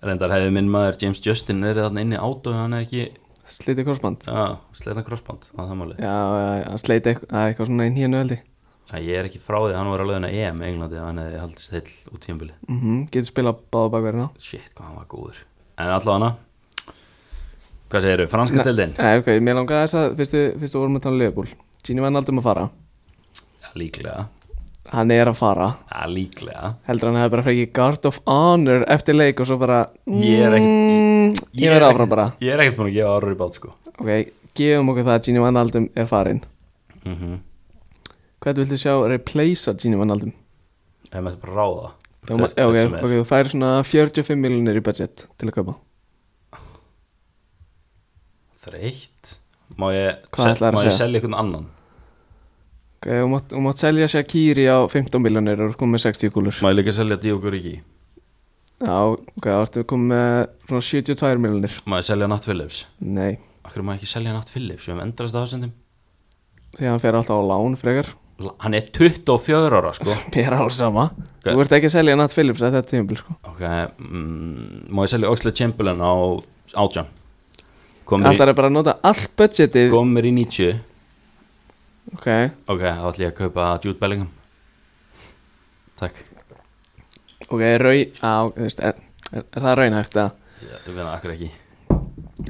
Speaker 2: það reyndar hefði minn maður James Justin verið þarna inni át og hann er ekki
Speaker 1: Slitið korsband
Speaker 2: já, sleitan crossband á það máli
Speaker 1: Já, já, hann sleiti eitthvað, það er eitthvað svona inn hérna veldi
Speaker 2: já, ég er ekki frá því hann var alveg en að EM í Englandi hann hefði haldist heil út tímbili
Speaker 1: mm Getur spilað báða bakverðina
Speaker 2: shit, hvað hann var góður en allavega hvað segir þau, franska deildin
Speaker 1: Nei, ok, mér langaði þess að fyrstu, fyrstu vorum að tala um Leopold Gini var aldrei um að fara
Speaker 2: ja, líklega,
Speaker 1: Hann er að fara
Speaker 2: ja, líklega
Speaker 1: Heldur hann hefði bara frekið Guard of Honor eftir leik og svo bara
Speaker 2: Ég er ekkert-
Speaker 1: mm, Ég,
Speaker 2: er
Speaker 1: verð
Speaker 2: ekkert-
Speaker 1: áfram bara
Speaker 2: ég er ekkert búin að gefa árur í bát sko
Speaker 1: Ok, gefum okkur það að Gini Vandaldum er farin
Speaker 2: mm -hmm.
Speaker 1: Hvernig viltu sjá replacea Gini Vandaldum?
Speaker 2: ef maður bara ráða
Speaker 1: Já, ma- já, ok, ok, þú færi svona 45 miljonir í budget til að kaupa
Speaker 2: þreitt má ég,
Speaker 1: Hvað
Speaker 2: sel,
Speaker 1: ætlarðu að
Speaker 2: má ég
Speaker 1: segja?
Speaker 2: selja einhvern annan
Speaker 1: Ok, þú mátt, þú mátt selja Shakiri á 15 miljonir og komið með 60 kúlur
Speaker 2: má ég líka selja Diogo Riki
Speaker 1: Já, ok, þá ertu komið með svona 72 miljonir
Speaker 2: má ég selja Nat Phillips
Speaker 1: Nei,
Speaker 2: okkur má ég ekki selja Nat Phillips við höfum endrast aðsendum
Speaker 1: því hann fer alltaf á lán frekar
Speaker 2: hann er 24 ára sko
Speaker 1: Mér á sama
Speaker 2: Ok.
Speaker 1: Þú ert ekki að selja Nat Phillips að þetta tímpil sko.
Speaker 2: ok, mm, má ég selja Oxlade Chamberlain á átján komum
Speaker 1: Alltaf er bara að nota allt budgetið
Speaker 2: kom mér í 90
Speaker 1: Ok,
Speaker 2: ok, þá ætlum ég að kaupa Jude Bellingham takk
Speaker 1: ok, rau á, þú veist, er, er, er það raunhæft að
Speaker 2: ég, ég veit það akkur ekki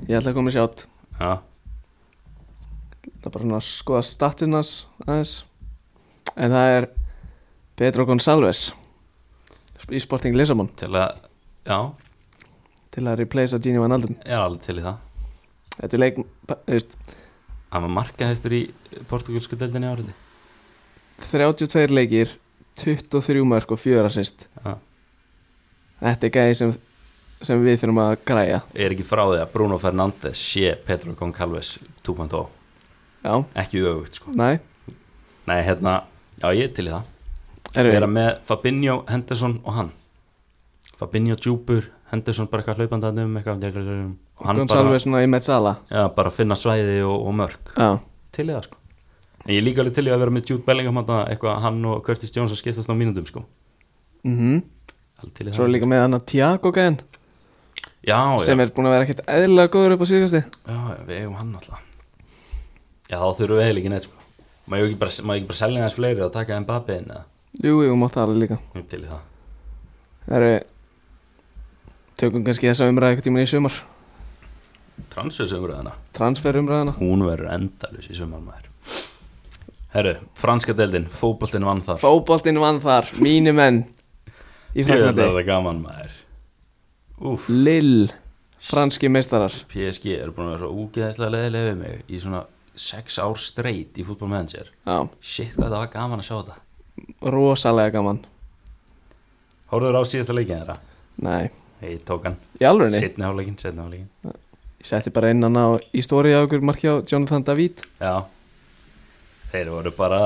Speaker 1: Ég ætla að koma að sjátt
Speaker 2: já,
Speaker 1: Það er bara svona að skoða statinas aðeins En það er Pedro Gonçalves Í Sporting Lissabon
Speaker 2: til að já,
Speaker 1: Til að replacea Gini Van Alden
Speaker 2: ég er alveg til í það
Speaker 1: Þetta er leik, þú veist,
Speaker 2: Hann var markahæstur í portugalsku deildinni áriði
Speaker 1: 32 leikir 23 mörg og 4 assist
Speaker 2: Já.
Speaker 1: Þetta er gæði sem, sem við þurfum að græja
Speaker 2: Ég er ekki frá því að Bruno Fernandes sé Pedro Goncalves 2.0
Speaker 1: Já,
Speaker 2: Ekki öfugt sko
Speaker 1: næ,
Speaker 2: Nei hérna, já ég er til í það
Speaker 1: erum
Speaker 2: Við
Speaker 1: við
Speaker 2: erum með Fabinho, Henderson og hann Fabinho djúpur Henderson bara eitthvað hlaupandi um eitthvað og hann bara,
Speaker 1: Gonsalves svona í Metzala
Speaker 2: ja, bara finna svæði og, og mörg
Speaker 1: Já,
Speaker 2: Til í það sko En ég er líka alveg til í að vera með Jude Bellingham þarna, eitthvað hann og Curtis Jones að skiptast á mínútum sko
Speaker 1: mhm
Speaker 2: Alveg til í
Speaker 1: Svo er
Speaker 2: það
Speaker 1: líka með hann að Tiago gæðin
Speaker 2: Já, já,
Speaker 1: sem er búin að vera ekkert eðlilega góður upp á síðkasti
Speaker 2: Já, já, við eigum hann alltaf Já, þá þurfum við eiginlega ekki neitt sko Má ég ekki bara, má ég ekki bara selja hans fleiri og taka Mbappi inn eða
Speaker 1: Jú, jú, mátt það alveg líka
Speaker 2: Ég er til í það
Speaker 1: Það eru tökum kannski þessa umræða eitthvað tíma í sumar
Speaker 2: Transfersumröðina
Speaker 1: transfer umræðana
Speaker 2: Hún verður endalus í sumar maður Herru, franska deildin, fótboltinn vann þar
Speaker 1: Fóboltinn vann þar, mínu menn í
Speaker 2: Jöfnlega
Speaker 1: Franklandi
Speaker 2: það er gaman maður Úf,
Speaker 1: Lill, franski meistarar
Speaker 2: PSG eru búin að vera svo úgeðislega leiðilega við mig Í svona sex ár streit í fútbolmanager
Speaker 1: Já,
Speaker 2: Shit, hvað það var gaman að sjá þetta
Speaker 1: rosalega gaman
Speaker 2: Hóruður á síðasta leikin þeirra?
Speaker 1: Nei,
Speaker 2: Ég tók hann
Speaker 1: í alvegni
Speaker 2: Seinni hálfleikin, seinni hálfleikin
Speaker 1: Ég setti bara inn hann á í stóri á okkur marki á Jonathan David
Speaker 2: Já Þeir voru bara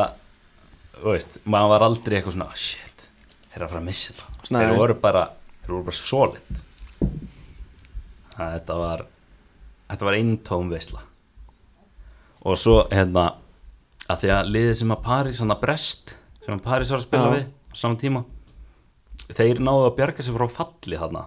Speaker 2: Þú veist, maður var aldrei eitthvað svona "Ah, Shit, þeir eru að fara að missa þetta
Speaker 1: Nei.
Speaker 2: Þeir voru bara, þeir voru bara solid Það, þetta var Þetta var eintóm veisla Og svo, hérna að Því að liðið sem að París, hann að Brest Sem að París var að spila
Speaker 1: Já.
Speaker 2: við á Saman tíma Þeir náðu að bjarga sér frá falli þarna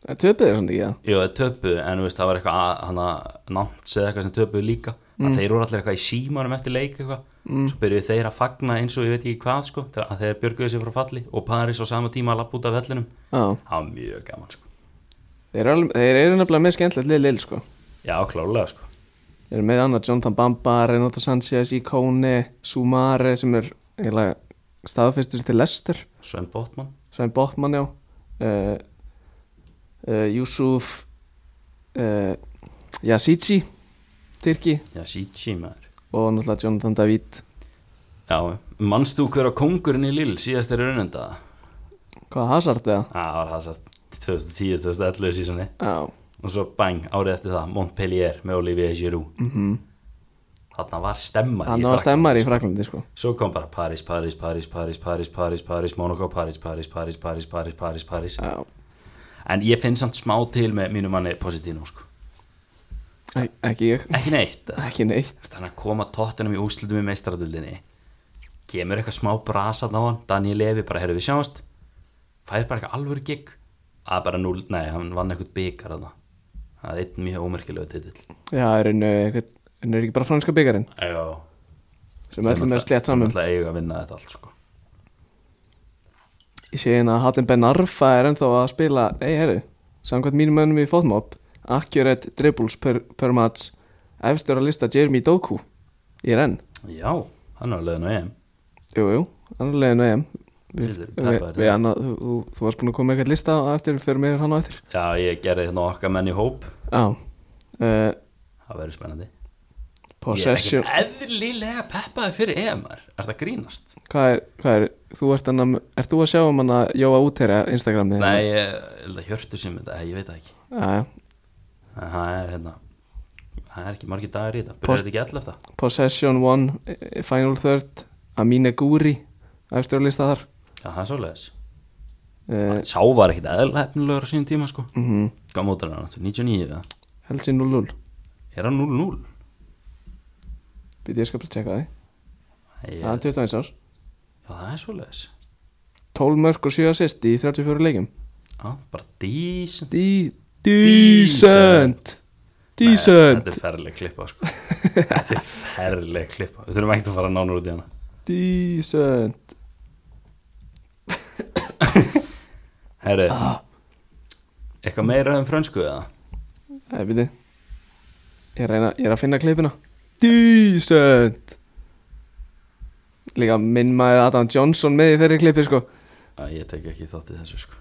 Speaker 1: Það töpuðir svona ekki það
Speaker 2: Jú, þeir töpuðu, en þú veist, það var eitthvað að- hann að nátt eða eitthvað sem töpuðu líka að þeir voru allir eitthvað í símanum eftir leik eitthvað, svo byrjuðu þeir að fagna eins og ég veit ekki hvað, sko, þegar- að þeir björguðu sér frá falli og Paris á sama tíma að lappa út af vellinum
Speaker 1: Já,
Speaker 2: það var mjög gaman, sko
Speaker 1: þeir eru, alveg, þeir eru nefnilega með skemmtilegt lið Lill sko
Speaker 2: Já, klálega, sko
Speaker 1: Þeir eru með annað Jonathan Bamba, Renato Sanchez, Ikone, Sumare sem er eiginlega staðfestur til Lester,
Speaker 2: Sven Botman,
Speaker 1: Svein Botman já, uh, uh, Yusuf, uh, Yasici, Tyrki
Speaker 2: já, Sitchi, maður
Speaker 1: og náttúrulega Jonathan David.
Speaker 2: Já, manstu hver á kongurinn í Lill síðast er raunenda
Speaker 1: Hvað Hazard eða?
Speaker 2: það var það satt 2010-2011 sísoni
Speaker 1: Já,
Speaker 2: og svo bang, árið eftir það, Montpellier með Olivier Giroud
Speaker 1: mm
Speaker 2: þarna var stemmar
Speaker 1: hann var stemmar í Fraklandi sko
Speaker 2: svo kom bara Paris, Paris, Paris, Paris, Paris, Paris, Paris, Monaco, Paris, Paris, Paris, Paris, Paris, Paris, Paris
Speaker 1: Já,
Speaker 2: en ég finn samt smá til með mínu manni Positino sko,
Speaker 1: ek- ekki ég
Speaker 2: ekki neitt
Speaker 1: Ekki neitt
Speaker 2: þannig að koma tóttinum í úslutum í meistaradildinni kemur eitthvað smá brasað á hann Daniel Levi bara herru við sjáumst fær bara eitthvað alvöru gig að bara núl, nei, hann vann eitthvað byggar að það það er einn mjög ómerkilega titill
Speaker 1: Já, er hann eh, er ekki bara franska byggarinn
Speaker 2: já,
Speaker 1: sem öllum er slétt saman
Speaker 2: alltaf eiga að vinna þetta allt sko.
Speaker 1: Ég sé hérna að Hatem Ben Arfa er ennþá að spila Nei, herru, samkvæmt mínum mönnum í fótmop Accurate dribbles per, per match Efstur að lista Jeremy Doku Í renn
Speaker 2: já, hann er alveg nú EM
Speaker 1: Jú, jú, annar en EM Við,
Speaker 2: Sildur,
Speaker 1: við,
Speaker 2: peppaður.
Speaker 1: við annað, þú, þú, þú varst búin að koma með eitthvað lista á eftir, við fyrir með hann á eftir
Speaker 2: já, ég gerði hérna okkar menn í hóp
Speaker 1: Já uh,
Speaker 2: það verður spennandi
Speaker 1: Possession
Speaker 2: ég er ekkert eðlilega peppaði fyrir EM er þetta grínast
Speaker 1: Hvað er, hvað er, þú ert hann að Ert þú að sjá um hann að Jóa Útera Instagramið?
Speaker 2: nei, ég ég held að hjörtu sem þetta, ég veit það ekki
Speaker 1: Já,
Speaker 2: En það er hérna Það er ekki margir dagar í þetta Byrjar þetta ekki alltaf þetta?
Speaker 1: Possession 1 Final Third Amine Guri Efstur að lista þar
Speaker 2: Já, það er svoleiðis
Speaker 1: uh,
Speaker 2: Sá var ekkit eðla efnilegur á sínum tíma sko
Speaker 1: mm
Speaker 2: Hvað mótar hann? 99 eða?
Speaker 1: Helsi 0-0
Speaker 2: Er hann 0-0?
Speaker 1: Býtti ég skal bara tjekka það
Speaker 2: Ég-
Speaker 1: Það er 21 árs
Speaker 2: Já, það er svoleiðis
Speaker 1: 12 mörg og 7 assist í 34 leikum
Speaker 2: Já, bara decent
Speaker 1: Dí- Decent
Speaker 2: Nei,
Speaker 1: Decent
Speaker 2: Þetta er ferleg klippa sko Þetta er ferleg klippa Við þurfum ekkert að fara nánur út í hana
Speaker 1: Decent
Speaker 2: Herri Eitthvað meira um frönsku eða?
Speaker 1: Það er býtti Ég er að reyna- ég er að finna klippina Decent Líka minn maður Adam Johnson með í þeirri klippi sko
Speaker 2: Æ, ég tek ekki þátt í þessu sko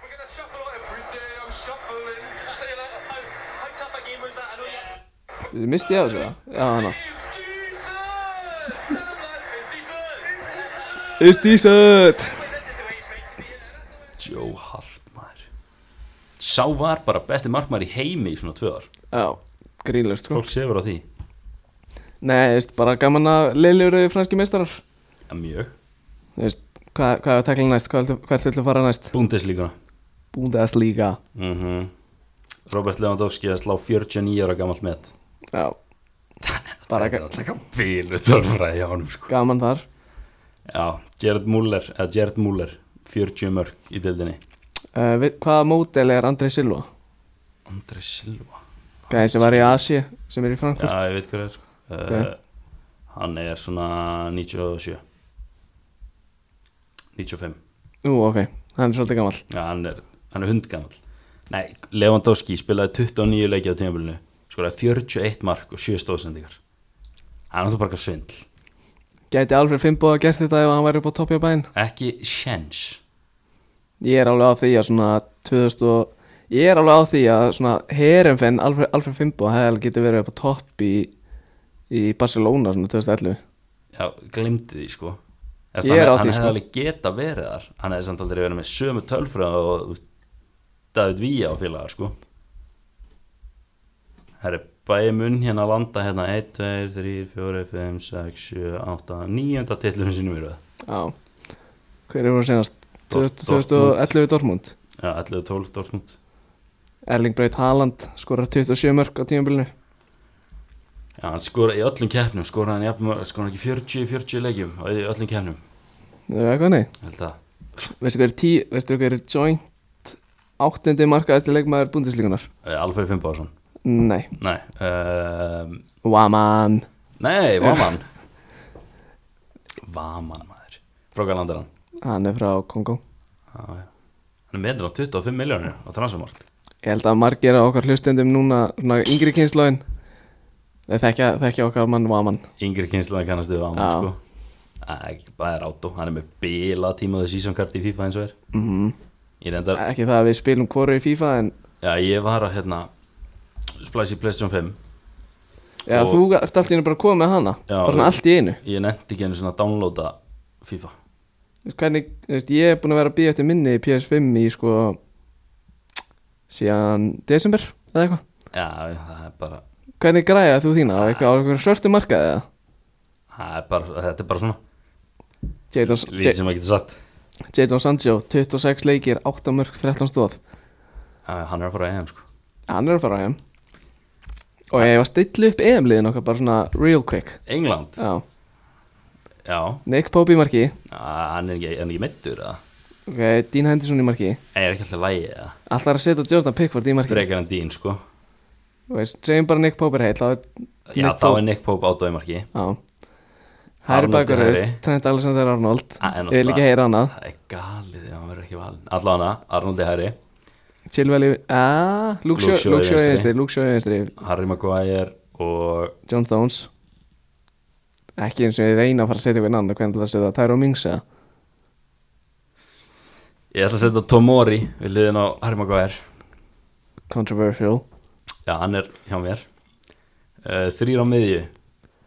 Speaker 3: We're gonna shuffle every day. I'm shuffling. So you're like, how, how tough a game was that? I know you.
Speaker 1: Misti ég af þessu það? Já, hana
Speaker 3: It's decent. Tell them that it's decent.
Speaker 1: It's
Speaker 3: It's decent.
Speaker 1: decent
Speaker 3: Like, this is the way it's meant to be. Isn't it?
Speaker 2: Joe Hartmar Sá var bara besti markmar í heimi í svona tvö ár
Speaker 1: Já, grínlust sko
Speaker 2: Fólk sefur á því
Speaker 1: Nei, þú veist, bara gaman að leiljur eru franski meistarar
Speaker 2: Já, mjög
Speaker 1: Þú veist, hvað, hvað er að tekla næst? Hvað ertu- Hvert viltu fara næst?
Speaker 2: Búndeslíkuna
Speaker 1: Bundesliga
Speaker 2: mm Robert Lewandowski að slá 49 ára gamalt met
Speaker 1: Já Bara
Speaker 2: Þetta er
Speaker 1: ga
Speaker 2: alltaf ekki bílu tölfræði á honum sko
Speaker 1: gaman þar
Speaker 2: Já, Gerard Muller, eða Gerard Muller 40 mörg í deildinni
Speaker 1: uh, við, Hvaða mótel er Andrei Silva?
Speaker 2: Andrei Silva
Speaker 1: Gæði sem var í Asi sem er í Frankfurt
Speaker 2: Já, ég veit hvað það er sko uh,
Speaker 1: Ok.
Speaker 2: Hann er svona 97 95
Speaker 1: Nú, ok, hann er svolítið gammal
Speaker 2: Já, hann er, hann er hundgamall Nei, Lewandowski spilaði 29 leiki á tímabilinu skoraði 41 mark og 7 stóðsendingar Hann er þú bara eitthvað svindl
Speaker 1: Gæti Alfred Fimbo að gert þetta ef hann væri upp á toppi á bæinn
Speaker 2: Ekki sjens
Speaker 1: Ég er alveg á því að svona 2000 og Ég er alveg á því að svona Herenfenn Alfred, Alfred Fimbo hefði getið verið upp á topp í í Barcelona svona 2011
Speaker 2: Já, glemdi því sko
Speaker 1: Ég er á
Speaker 2: hann, hann
Speaker 1: því,
Speaker 2: hefði
Speaker 1: sko.
Speaker 2: alveg geta verið þar Hann hefði samt aldrei verið með sömu tölfröð og þú veist, David Vía og félagar sko Það er bæði munn hérna að landa hérna 1, 2, 3, 4, 5, 6, 7, 8, 9 titlunum sínum í röð
Speaker 1: Já Hver er hún senast?
Speaker 2: Dort-
Speaker 1: 2011 Dortmund
Speaker 2: Já, 11, 12, 12
Speaker 1: Erling Braut Haaland skorar 27 mörg á tímabilinu
Speaker 2: Já, hann skora í öllum keppnum skora hann, jafn, skora hann ekki 40, 40 leikjum á- í öllum keppnum
Speaker 1: Þú veist hvað nei
Speaker 2: ég held að
Speaker 1: Veistu hver er, tí, veistu hver er joint áttundi markaðasti leikmaður búndislíkunar?
Speaker 2: Eh, Alfred Fimboðarsson
Speaker 1: Nei
Speaker 2: Nei um,
Speaker 1: Waman
Speaker 2: Nei, Vaman Vaman maður Frókalandar hann
Speaker 1: Hann er frá Kongo
Speaker 2: Já, já. Hann er meðan á 25 miljónir á transfermarkt
Speaker 1: Ég held að margir af okkar hlustendum núna svona yngri kynslóin þeir þekkja, þekkja okkar mann Waman
Speaker 2: Yngri kynsluðan kannast við Vaman
Speaker 1: Já.
Speaker 2: sko Æ, ekki, bara er átó, hann er með bila tímaðu sísónkart í FIFA eins og er
Speaker 1: mm
Speaker 2: Ég reyndar,
Speaker 1: Ekki það að við spilum hvoru í FIFA en
Speaker 2: já ég var að hérna Splice í Playstation 5
Speaker 1: já,
Speaker 2: Og-
Speaker 1: þú ert allt í einu bara að koma með hana
Speaker 2: Já.
Speaker 1: Bara svona allt í einu
Speaker 2: Ég nefndi ekki henni svona að downloada FIFA
Speaker 1: Þú veist, hvernig, þú veist, ég er búin að vera að býja eftir minni í PS5 í sko síðan desember eða eitthvað
Speaker 2: Já, það er bara,
Speaker 1: hvernig græða þú þína á eitthvað á eitthvað svörtu markaði eða
Speaker 2: það er bara þetta er bara svona,
Speaker 1: Jadon-
Speaker 2: lítið
Speaker 1: Ja-
Speaker 2: sem maður getur sagt
Speaker 1: Jadon Sancho, 26 leikir 8 mörg, 13 stóð
Speaker 2: Já, hann er að fara að EM sko
Speaker 1: hann er að fara á EM og ég var að stilla upp EM liðin okkar bara svona real quick
Speaker 2: England,
Speaker 1: já.
Speaker 2: já,
Speaker 1: Nick Pope í marki
Speaker 2: Já, hann er ekki, er hann ekki meittur eða
Speaker 1: okay, Dean Henderson í marki
Speaker 2: En er ekki alltaf lægi eða
Speaker 1: allar að setja Jordan Pickford í marki
Speaker 2: Frekar en Dín sko
Speaker 1: Þú veist, segjum bara Nick Pope er heill þá er-
Speaker 2: Já,
Speaker 1: Nick
Speaker 2: þá
Speaker 1: Pope.
Speaker 2: er Nick Pope átöði marki
Speaker 1: já. Harry
Speaker 2: Arnold er
Speaker 1: Bakurur,
Speaker 2: hægri.
Speaker 1: Trent Alexander-Arnold
Speaker 2: Ah, en
Speaker 1: ég vil ekki
Speaker 2: náttúrulega-
Speaker 1: heyra annað
Speaker 2: Það er galið ef hann verður ekki valin Allan hana, Arnoldi Harry
Speaker 1: Chilwell í, aaa, Luke
Speaker 2: Luke Shaw í
Speaker 1: Shaw- Luke Shaw í
Speaker 2: vinstri.
Speaker 1: einstri Luke Shaw í einstri,
Speaker 2: Harry Maguire og
Speaker 1: John Stones ekki eins og ég reyna að fara að setja eitthvað annan hvernig ætlarðu að setja Tyrone Mings eða
Speaker 2: Ég ætla að setja Tomori Við liðin á Harry Maguire
Speaker 1: controversial
Speaker 2: Já, hann er hjá mér uh, Þrýr á miðju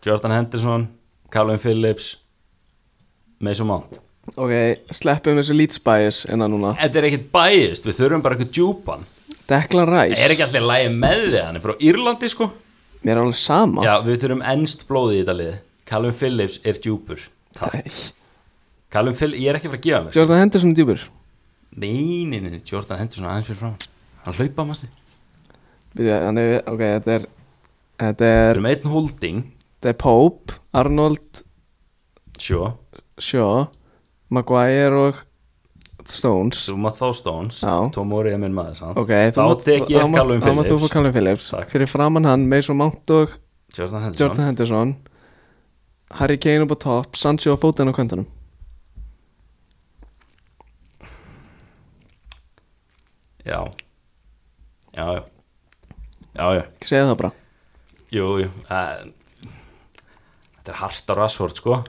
Speaker 2: Jordan Henderson, Callum Phillips Mason Mount
Speaker 1: ok, sleppum þessu Leeds bias enna núna
Speaker 2: Þetta er ekkert bæjist, við þurfum bara eitthvað djúpan
Speaker 1: Declan Rice,
Speaker 2: Er ekki allir lægi með þig, hann er frá Írlandi sko
Speaker 1: mér er alveg sama
Speaker 2: Já, við þurfum ennst blóði í þetta liði Callum Phillips er djúpur Takk.
Speaker 1: Æ,
Speaker 2: Callum Phillips, ég er ekki að fara að gefa mér
Speaker 1: Jordan Henderson er djúpur
Speaker 2: Nei, nei, nei, Jordan Henderson aðeins fyrir fram Hann hlaupa mástu
Speaker 1: Byrja, hann er, ok, þetta er þetta
Speaker 2: Við
Speaker 1: er,
Speaker 2: erum einn holding,
Speaker 1: þetta er Pope Arnold,
Speaker 2: sjó
Speaker 1: Shaw Maguire og Stones
Speaker 2: Þú mátt fá Stones,
Speaker 1: Já.
Speaker 2: Tomori er minn maður sant?
Speaker 1: ok,
Speaker 2: Þá tek ég
Speaker 1: mátt-
Speaker 2: Callum
Speaker 1: þá mátt þú
Speaker 2: Phillips
Speaker 1: fá Callum Phillips
Speaker 2: Takk.
Speaker 1: fyrir framann hann, Mason Mount og
Speaker 2: Jordan Henderson
Speaker 1: Jordan Henderson Harry Kane upp á topp Sancho á fótinn á kvöntunum
Speaker 2: Já, já, já Já, já,
Speaker 1: segja það bara
Speaker 2: jú, jú uh, Þetta er hart á Rashford, sko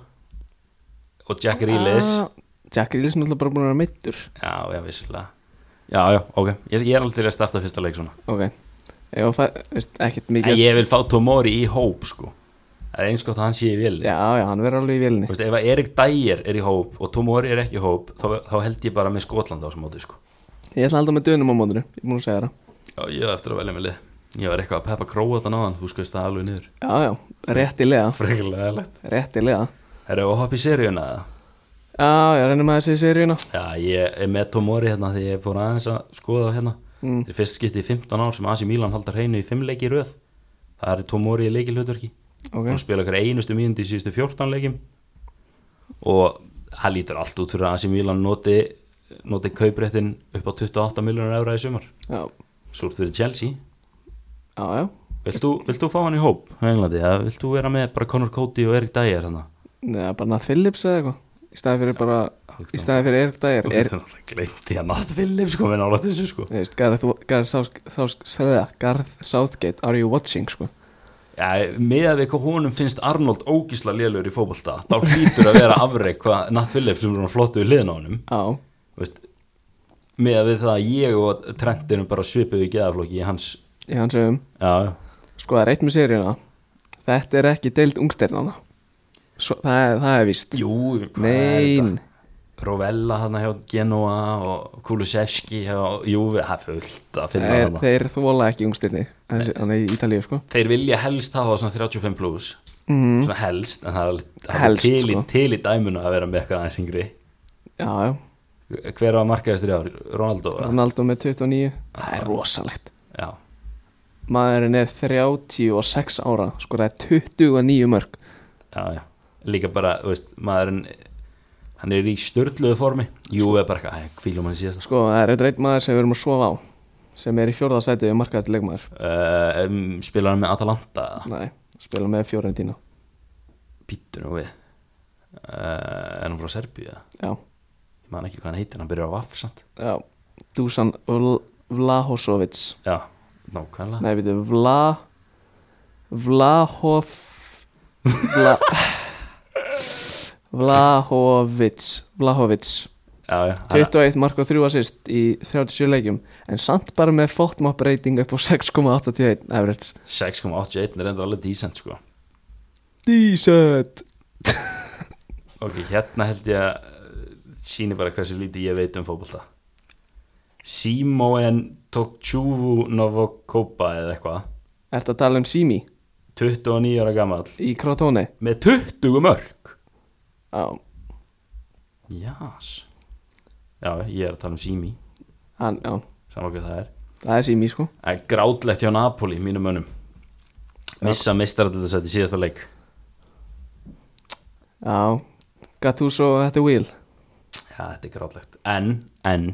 Speaker 2: Og Jack Reelis
Speaker 1: ah, Jack Grealish er náttúrulega bara búin að vera meittur
Speaker 2: Já, já, vissulega Já, já, ok, ég, ég er alveg til að starta fyrsta leik svona
Speaker 1: ok ég var fæ- veist, ekkert
Speaker 2: En
Speaker 1: mikið
Speaker 2: ég vil fá Tomori í hóp, sko Það er eins gott að hann sé í vél
Speaker 1: já já hann verður alveg í
Speaker 2: Þú
Speaker 1: vélni
Speaker 2: veist, ef að Erik Dyer er í hóp og Tomori er ekki í hóp þá, þá held ég bara með Skotland á þessum móti, sko
Speaker 1: ég ætla að halda með dönum á mótinu ég er búin að segja það
Speaker 2: Já, ég var eftir að velja með lið Ég var eitthvað að peppa króa þetta náðan, þú skoist það alveg niður
Speaker 1: já já réttilega
Speaker 2: Freklega lett
Speaker 1: réttilega
Speaker 2: Er það að hoppa í seríuna eða?
Speaker 1: já já reynir maður þessi seríuna
Speaker 2: Já, ég er með Tomori hérna því ég fór aðeins að skoða á hérna
Speaker 1: Mm.
Speaker 2: Þetta er fyrst skipti í 15 ár sem Asi Milan haldar hreinu í 5 leiki í röð Það er Tomori í leikilhutverki
Speaker 1: ok
Speaker 2: hann spila okkur einustu mínúti í síðustu 14 leikim og hann lítur allt út fyrir að AC Milan noti, noti kaupréttin upp á 28 miljonar eurra í sumar
Speaker 1: já
Speaker 2: Súrt fyrir Chelsea
Speaker 1: já já
Speaker 2: Vilt þú, vilt þú fá hann í hóp á Englandi eða vilt þú vera með bara Conor Cody og Erik Dyer hann?
Speaker 1: neða bara Nat Phillips eða eitthvað í staði fyrir bara í staði fyrir Erik Dyer
Speaker 2: Þú
Speaker 1: er,
Speaker 2: getur náttúrulega gleymt því að Matt Phillips kom inn á látt þessu sko
Speaker 1: þú veist Garth, Garth, South, South, South, Garth Southgate are you watching sko
Speaker 2: Já, með að við hvað honum finnst Arnold ógísla lélur í fótbolta þá hlýtur að vera afreik hvað Nat Phillips sem er svona flottu í liðin á honum
Speaker 1: já
Speaker 2: Þú veist, með að við það að ég og Trent erum bara svipuð í geðaflokki í hans
Speaker 1: í hans höfum
Speaker 2: já,
Speaker 1: sko það er eitt með seríuna þetta er ekki deild ungsternana Svo, það, er, það er víst
Speaker 2: jú, hvað er
Speaker 1: nein,
Speaker 2: þetta Rovella hann hjá Genoa og Kulusevski hjá Júvi, það er fullt að finna
Speaker 1: þeir,
Speaker 2: þarna.
Speaker 1: þeir þóla ekki ungsterni þannig í Ítalíu sko
Speaker 2: þeir vilja helst hafa svona 35 plus
Speaker 1: mm,
Speaker 2: svona helst, en það er alveg- það er
Speaker 1: Helst,
Speaker 2: til, í,
Speaker 1: sko.
Speaker 2: til í dæmunu að vera með eitthvað aðeins yngri
Speaker 1: já, já,
Speaker 2: hver var markaðistur í ár, Ronaldo eða?
Speaker 1: Ronaldo með 29 það er rosalegt
Speaker 2: já,
Speaker 1: maðurinn er 36 ára sko það er 29 mörg
Speaker 2: já, já, líka bara þú veist, maðurinn hann er í störtluðu formi, Júvi er bara eitthvað kvílum hann í síðasta
Speaker 1: sko það er eitthvað einn maður sem við erum að sofa á sem er í fjórðasæti við markaðast leikmaður
Speaker 2: uh, um, spilar hann með Atalanta eða?
Speaker 1: nei, spila með fjórendina
Speaker 2: Pítur nú við uh, er hann frá Serbíu eða?
Speaker 1: já,
Speaker 2: ég man ekki hvað hann heitir, hann byrjar á Vaff samt
Speaker 1: já, Dusan Vl- Vlahosovic
Speaker 2: já, nákvæmlega
Speaker 1: Nei, við Vla Vlahov Vla Vlahovits Vlahovits
Speaker 2: já, já, hann,
Speaker 1: 21 mark og 3 assist í 37 leikjum en samt bara með fótmop rating upp á 6,81 average
Speaker 2: 6.81 er endur alveg decent sko
Speaker 1: Decent
Speaker 2: ok, hérna held ég að sýnir bara hversu lítið ég veit um fótbolta Simoen Tokchúvu Novokopa eða eitthvað
Speaker 1: Ertu að tala um Simi
Speaker 2: 29 ára gamall
Speaker 1: í Krotone?
Speaker 2: með 20 mörg
Speaker 1: Já,
Speaker 2: Jás Já, ég er að tala um Simi
Speaker 1: hann, já,
Speaker 2: saman hvað það er
Speaker 1: það er Simi sko
Speaker 2: Það er grátlegt hjá Napoli, mínum önum Missa meistarallisætt í síðasta leik
Speaker 1: Já, Gattuso at the wheel
Speaker 2: Já, þetta er grátlegt En, en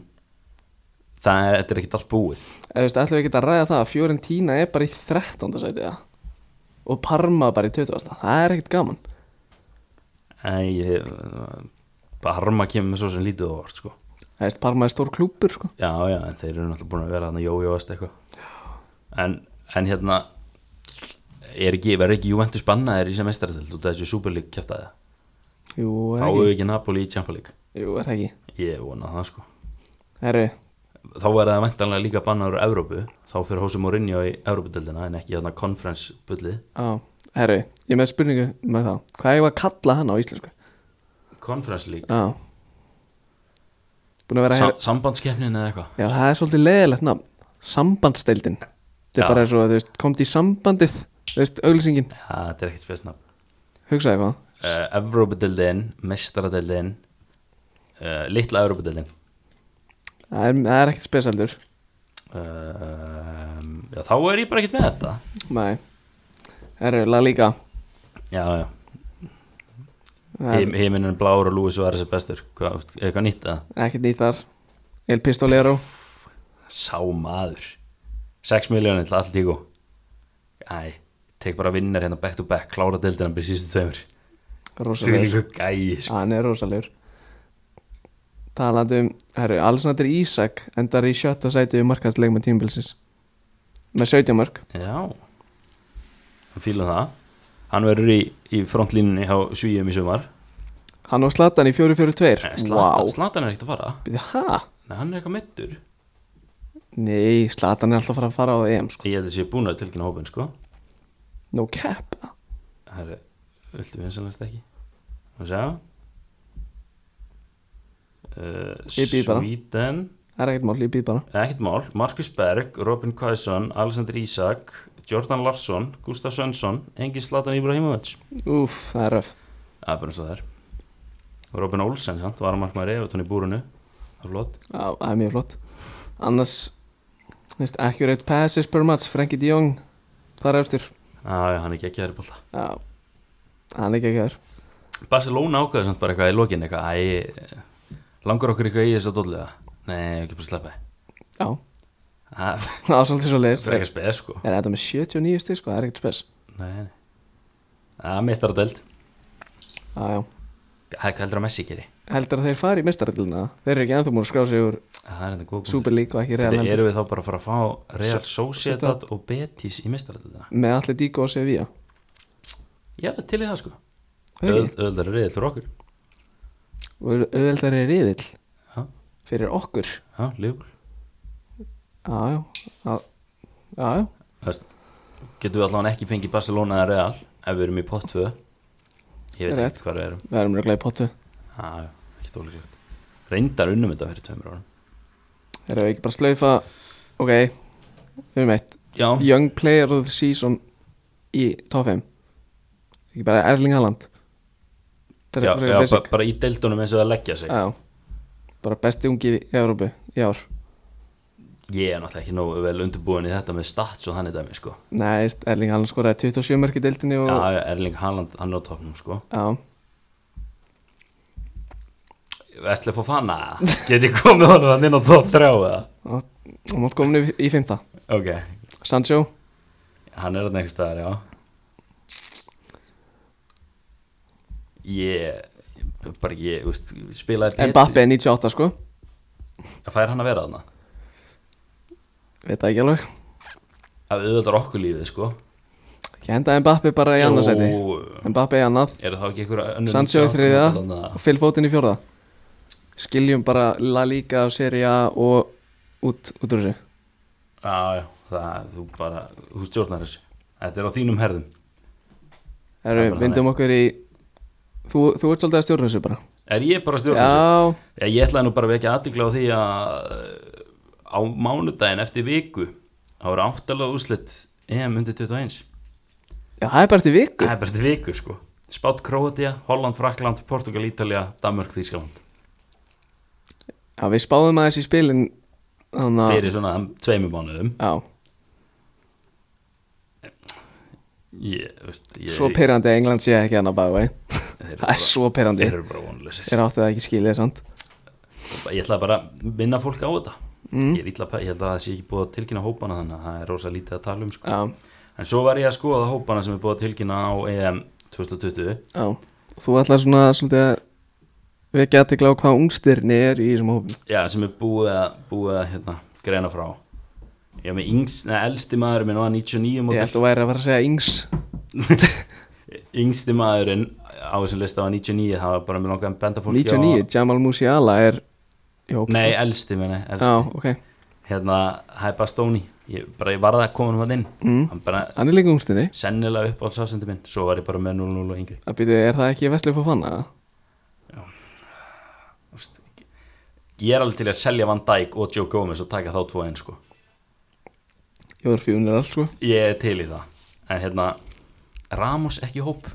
Speaker 2: Það er, þetta er ekkert allt búið
Speaker 1: Eða veist, ætlum við ekki að ræða það að Fiorentina er bara í 13. sæti það og Parma bara í 20. Það er ekkert gaman
Speaker 2: Æ, ég, Barma kemur með svo sem lítið og vart sko.
Speaker 1: Það veist, Parma er stór klúpur sko
Speaker 2: Já, já, en þeir eru náttúrulega búin að vera hann að jójóast eitthvað en, en hérna er ekki, verður ekki Juventus bannaðir í sem meistarallisætt út af þessu Superleague kjæftaði
Speaker 1: Jú, er
Speaker 2: Þá
Speaker 1: það
Speaker 2: hefur
Speaker 1: ekki
Speaker 2: ekki Napoli í Champions League
Speaker 1: Jú, er það ekki
Speaker 2: Ég vona það sko
Speaker 1: Herru,
Speaker 2: þá verða það væntanlega líka bannaður úr Evrópu þá fyrir Hósi Mourinho í Evrópudeldina en ekki þarna conference bullið
Speaker 1: á, herru, ég er með spurningu með það Hvað ég var að kalla hann á íslensku?
Speaker 2: conference league,
Speaker 1: Já Búin að vera að
Speaker 2: Sa
Speaker 1: heyra
Speaker 2: sambandskeppnin eða eitthvað
Speaker 1: Já, það er svolítið leðilegt nafn Sambandsdeildin Þetta
Speaker 2: Já.
Speaker 1: er bara eins og, þú veist, komst í sambandið Þú veist, auglýsingin
Speaker 2: ja, þetta er ekkert spesnafn
Speaker 1: Hugsaði eitthvað
Speaker 2: uh, Evrópudeldin, mestaradeldin uh, litla Evrópudeldin
Speaker 1: Það er, það er ekkert spesaldur
Speaker 2: uh, já, þá er ég bara ekkert með þetta
Speaker 1: Nei Herru, La Liga
Speaker 2: já, já,
Speaker 1: Það er
Speaker 2: Him, himinin blár og Lúis og Aris er bestur Hvað- er eitthvað nýtt að
Speaker 1: Ekkert nýtt þar El Pistolero
Speaker 2: sá maður 6 miljónir til allt tíku æ, tek bara vinnar hérna back to back, klára deildina byrja sístu tveimur Því
Speaker 1: Rósalegur
Speaker 2: líka gæi sko.
Speaker 1: Ah, Hann er rósalegur Talandi um Herru, Alexander Isak Endar í sjötta sæti Við markast leikma tímbilsis Með 17 mark
Speaker 2: Já Hann fíla það Hann verður í, í frontlínunni hjá Svíum í sumar
Speaker 1: Hann og Slatan í 4-4-2
Speaker 2: Nei, Slatan,
Speaker 1: Vá
Speaker 2: Slatan er ekkert að fara
Speaker 1: Býttu, Hæ?
Speaker 2: Nei, hann er eitthvað mittur
Speaker 1: Nei, Slatan er alltaf að fara að fara á EM sko
Speaker 2: Ég held að sé búin að tilkynna hópin sko
Speaker 1: No cap
Speaker 2: Herri, viltu vinsanlega ekki Má sjá
Speaker 1: Ég býð
Speaker 2: uh,
Speaker 1: bara.
Speaker 2: Svíten
Speaker 1: Það er ekkert mál, ég býð bara
Speaker 2: Eh, Ekkert mál, Markus Berg, Robin Kvæsson Alexander Isak, Jordan Larsson Gustaf Svensson, Engin Slatan Ibrahimovic
Speaker 1: Úf, það er röf
Speaker 2: Það er bara eins og það er Robin Olsen, sant, var að markmaður Evertón í búrunu Það er flott
Speaker 1: Já, það er mjög flott Annars þú veist, Accurate passes per match Frankie de Jong Þar eftir
Speaker 2: Já, já, hann er geggjaður í bólta
Speaker 1: Já Hann er ekki ekki þar
Speaker 2: Barcelona ákveður samt bara eitthvað í lokin eitthvað Æ, langur okkur eitthvað í þess að dolliða Nei, ekki bara sleppa því.
Speaker 1: Já,
Speaker 2: Það
Speaker 1: það var svolítið svo leiðis
Speaker 2: það er ekki spes sko
Speaker 1: Er þetta með 79 stig sko, það er ekkert spes
Speaker 2: Nei, nei Ah, Það er meistaradeld
Speaker 1: Já, já
Speaker 2: Það er hvað heldur að Messi geri
Speaker 1: Heldur að þeir fari í mestaradilina Þeir eru ekki ennþá múin að skrá sig úr
Speaker 2: Það er þetta góð punktur.
Speaker 1: Super League og ekki Real
Speaker 2: Þetta
Speaker 1: Madrid
Speaker 2: eru við þá bara að fara að fá Real Sociedad og Betis í meistaradeldina
Speaker 1: Með allir Díko og Sevilla
Speaker 2: Ég er alveg til í það sko
Speaker 1: Hey.
Speaker 2: Öðvöldar er reyðil fyrir okkur
Speaker 1: Og auðveldari riðill
Speaker 2: Já,
Speaker 1: Fyrir okkur
Speaker 2: já, ljúkul
Speaker 1: Já, já Já, já, já.
Speaker 2: Getum við allavega ekki fengið Barcelona eða Real Ef við erum í pott 2 Ég veit
Speaker 1: Rétt.
Speaker 2: ekki hvað við erum
Speaker 1: Við erum röglega í pottu
Speaker 2: Já, já, ekki ólíklegt Reyndar unnum þetta fyrir tveimur árum
Speaker 1: Erum við ekki bara að slaufa Ok Við erum eitt
Speaker 2: Já,
Speaker 1: Young Player of the Season Í top 5 Ekki bara Erling Haaland Þetta er
Speaker 2: já,
Speaker 1: frekar
Speaker 2: já
Speaker 1: basic. Ah.
Speaker 2: bara, bara í deildunum eins og það leggja sig
Speaker 1: Já, bara besti ungi í Európu í ár
Speaker 2: Ég er náttúrulega ekki nógu vel undirbúin í þetta með stats og þannig dæmi sko
Speaker 1: Nei, veist, Erling Haaland skoraði 27 mörg í deildinni og...
Speaker 2: Já, já, Erling Haaland, hann er á topnum sko
Speaker 1: Já,
Speaker 2: Vestlega fór fana, get ég komið honum hann inn á top 3 eða
Speaker 1: og og mót kominu í í fimmta
Speaker 2: Ok,
Speaker 1: Sancho,
Speaker 2: hann er hann einhvers staðar, já Ég, bara ég, þú veist, spilaði Pedri-
Speaker 1: Mbappe 98 sko
Speaker 2: Fær hann að vera þarna
Speaker 1: Veit það ekki alveg
Speaker 2: Það auðvitað okkur lífið sko
Speaker 1: Ekki henda Mbappe bara í annað seti
Speaker 2: Jú,
Speaker 1: Mbappe í annað,
Speaker 2: Eru þá ekki einhverja önnur
Speaker 1: Sancho í
Speaker 2: nýtt
Speaker 1: þriða
Speaker 2: áfram þarna?
Speaker 1: og Phil Foden í fjórða Skiljum bara La Liga og Serie A og út, út úr þessu
Speaker 2: Já, já, það, þú bara, þú stjórnar þessu Þetta er á þínum herðum
Speaker 1: Erum,
Speaker 2: bara
Speaker 1: vindum okkur í Þú, þú ert svolítið að stjórna þessu bara
Speaker 2: Er ég bara að stjórna þessu?
Speaker 1: Já,
Speaker 2: Já, ég ætlaði nú bara að vekja aðtikla á því að eh, á mánudaginn eftir viku þá eru áttalega úslitt EM undir 21
Speaker 1: já, það er bara til viku
Speaker 2: það er bara eftir viku sko Spátt Króatia, Holland, Frakland, Portugal, Ítalja Danmörk, Þýskaland
Speaker 1: Já, við spáðum aðeins í spilin Þannig að
Speaker 2: fyrir svona tveimur mánuðum
Speaker 1: Já,
Speaker 2: ég, veist, ég,
Speaker 1: svo pyrrandi að England sé ekki hérna, hann að bæða
Speaker 2: Þeir eru
Speaker 1: Það er svo pyrrandi
Speaker 2: þeir eru bara vonlausir
Speaker 1: Þeir áttu það ekki skilið, sant?
Speaker 2: ég ætlaði bara að minna fólk á þetta
Speaker 1: Mm.
Speaker 2: ég, er illa, pæ- ég held að það sé ekki búið að tilkynna hópana þannig að það er rosa lítið að tala um sko.
Speaker 1: Já,
Speaker 2: en svo var ég að skoða hópana sem er búið að tilkynna á E EM 2020
Speaker 1: já Þú ætlar svona svolítið að vekja aðtekla á hvað ungstirni er í þessum hópum
Speaker 2: Já, sem er búið að, búið að hérna, greina frá Já, með yngst, neða, elsti maðurinn minn var 99
Speaker 1: Ég
Speaker 2: mótil
Speaker 1: held að væri að fara að segja yngs
Speaker 2: Yngsti maðurinn á þessum lista var 99 Það var bara með langaðan benda fólki
Speaker 1: 99,
Speaker 2: á,
Speaker 1: Jamal Musiala er í hópum.
Speaker 2: Nei, elsti minni, elsti
Speaker 1: Já, ok
Speaker 2: Hérna, það er bara Stóni Ég bara, ég varða að koma hann inn
Speaker 1: Mm.
Speaker 2: Hann bara,
Speaker 1: Hann er líka ungstinni
Speaker 2: sennilega upp á sásendu minn Svo var ég bara með 0-0 og yngri
Speaker 1: Það byrju, er það ekki vestlið fyrir fanna?
Speaker 2: Úst, Ég er alveg til að selja Van Dijk og Joe Gomez og taka þá tvo einn sko
Speaker 1: Jóður fjúnir alls, sko
Speaker 2: Ég er til í það En hérna, Ramos ekki í hóp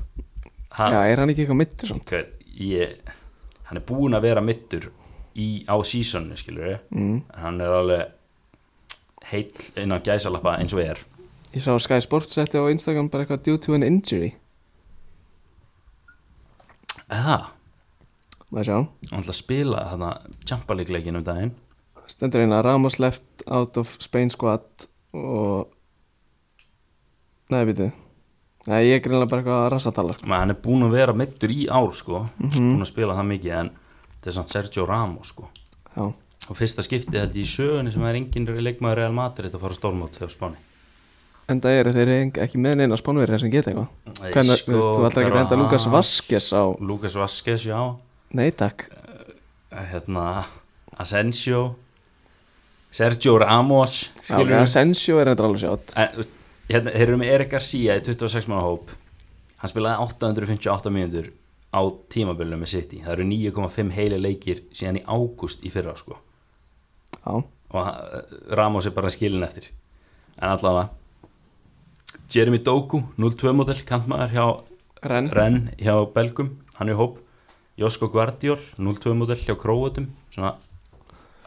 Speaker 2: Hann,
Speaker 1: Já, er hann ekki eitthvað mittur svona?
Speaker 2: hver, ég, hann er búinn að vera mittur í, á sísoninu skilur við mm. hann er alveg heill innan gæsalappa eins og er
Speaker 1: Ég sá að Sky Sports setti á Instagram bara eitthvað due to an injury
Speaker 2: eða,
Speaker 1: Það sjá
Speaker 2: hann ætla að spila þarna Champa League leikinn um daginn
Speaker 1: Stendur eina Ramos left out of Spain squad og Nei, býtu Nei, ég er greinlega bara eitthvað að rassatala
Speaker 2: Men hann er búinn að vera mittur í ár sko búinn að spila það mikið en þetta er samt Sergio Ramos sko
Speaker 1: Já,
Speaker 2: og fyrsta skipti held ég í sögunni sem er enginn leikmaður Real Madrid að fara stórmót hjá Spáni
Speaker 1: enda eru þeir eng- ekki með neina spánverðir sem geta eitthvað
Speaker 2: Nei,
Speaker 1: Hvernig,
Speaker 2: sko,
Speaker 1: þú veist, þú ætlar ekki að enda
Speaker 2: hverra-
Speaker 1: Lukas Vaskes á
Speaker 2: Lucas Vazquez, já
Speaker 1: Nei, takk
Speaker 2: hérna, Asensio Sergio Ramos
Speaker 1: Já,
Speaker 2: skilur við
Speaker 1: Asensio er þetta alveg sjátt
Speaker 2: En, þú veist, hérna, þeir eru með Erik Garcia í 26 manna hóp hann spilaði 858 mínútur á tímabilinu með City það eru 9,5 heili leikir síðan í ágúst í fyrra sko
Speaker 1: Já,
Speaker 2: og hann- Ramos er bara skilin eftir en allavega Jeremy Doku, 0-2 modell kantmaður hjá
Speaker 1: Renn
Speaker 2: Renn hjá Belgum, hann er í hóp Josko Guardiol, 0-2 modell hjá Króatum svona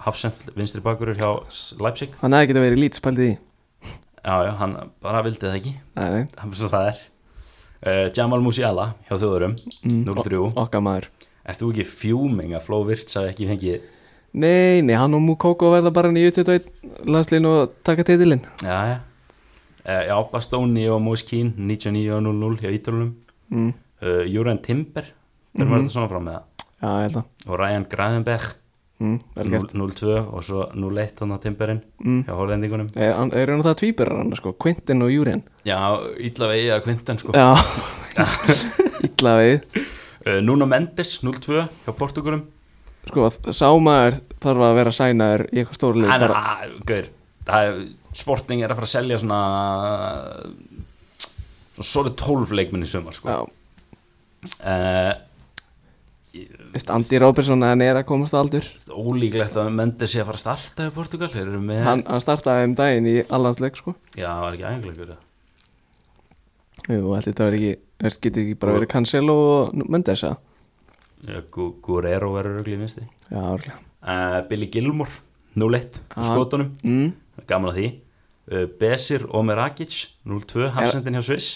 Speaker 2: hafsend vinstri bakurur hjá S- Leipzig
Speaker 1: Hann hefði getið verið lít spaldið í
Speaker 2: já, já, hann bara vildi það ekki
Speaker 1: Nei, nei,
Speaker 2: hann svo það er uh, Jamal Musiala hjá þjóðurum
Speaker 1: Mm.
Speaker 2: 0-3,
Speaker 1: okkar maður
Speaker 2: ert þú ekki fjúming að Fló Virts hafi ekki fengið
Speaker 1: Nei, nei, hann og Mukoko verða bara hann í U21 landslín og taka titilinn
Speaker 2: já, já, uh, já Bastoni og Moskín 99-0-0 hjá Ítalunum
Speaker 1: mm. Mhm.
Speaker 2: uh, Júren Timber, þeir var þetta svona fram með það
Speaker 1: Já, ég held að
Speaker 2: og Ryan Gravenberg
Speaker 1: mm, Vel gert
Speaker 2: 0-2 og svo 0-1 þannig að Timberinn
Speaker 1: Mm.
Speaker 2: hjá hollendingunum
Speaker 1: Þeir hann- þeir eru náttúrulega tvíburar hann sko, Quintin og Júrin
Speaker 2: já, illa vegi að Quinten sko
Speaker 1: Já, illa við
Speaker 2: uh, Nuno Mendes 0-2 hjá Portugalum
Speaker 1: Sko, sámaður þarf að vera sænaður í eitthvað stóru lið
Speaker 2: hann er,
Speaker 1: bara,
Speaker 2: að, gaur það er, sporting er að fara að selja svona svona solid 12 leikmenn í sumar sko
Speaker 1: Já,
Speaker 2: Eh, uh,
Speaker 1: veist, Andy Robertson hann er að komast á aldur
Speaker 2: ólíklegt að Mendes sé að fara að starta í Portugal, þeir eru með
Speaker 1: Hann, hann startaði um daginn í allansleik sko
Speaker 2: já, það var ekki ægengleikur
Speaker 1: Jú, ætli þetta verið ekki, veist, getur ekki bara verið Cancelo og Mendes að
Speaker 2: Já, Gu- Guerrero verður ögl í minnsti
Speaker 1: Já, árlega
Speaker 2: uh, Billy Gilmore 0-1
Speaker 1: Ah.
Speaker 2: í skotunum
Speaker 1: mm.
Speaker 2: gaman að því uh, Besir og Merakic 0-2 hafsendin hjá Sviss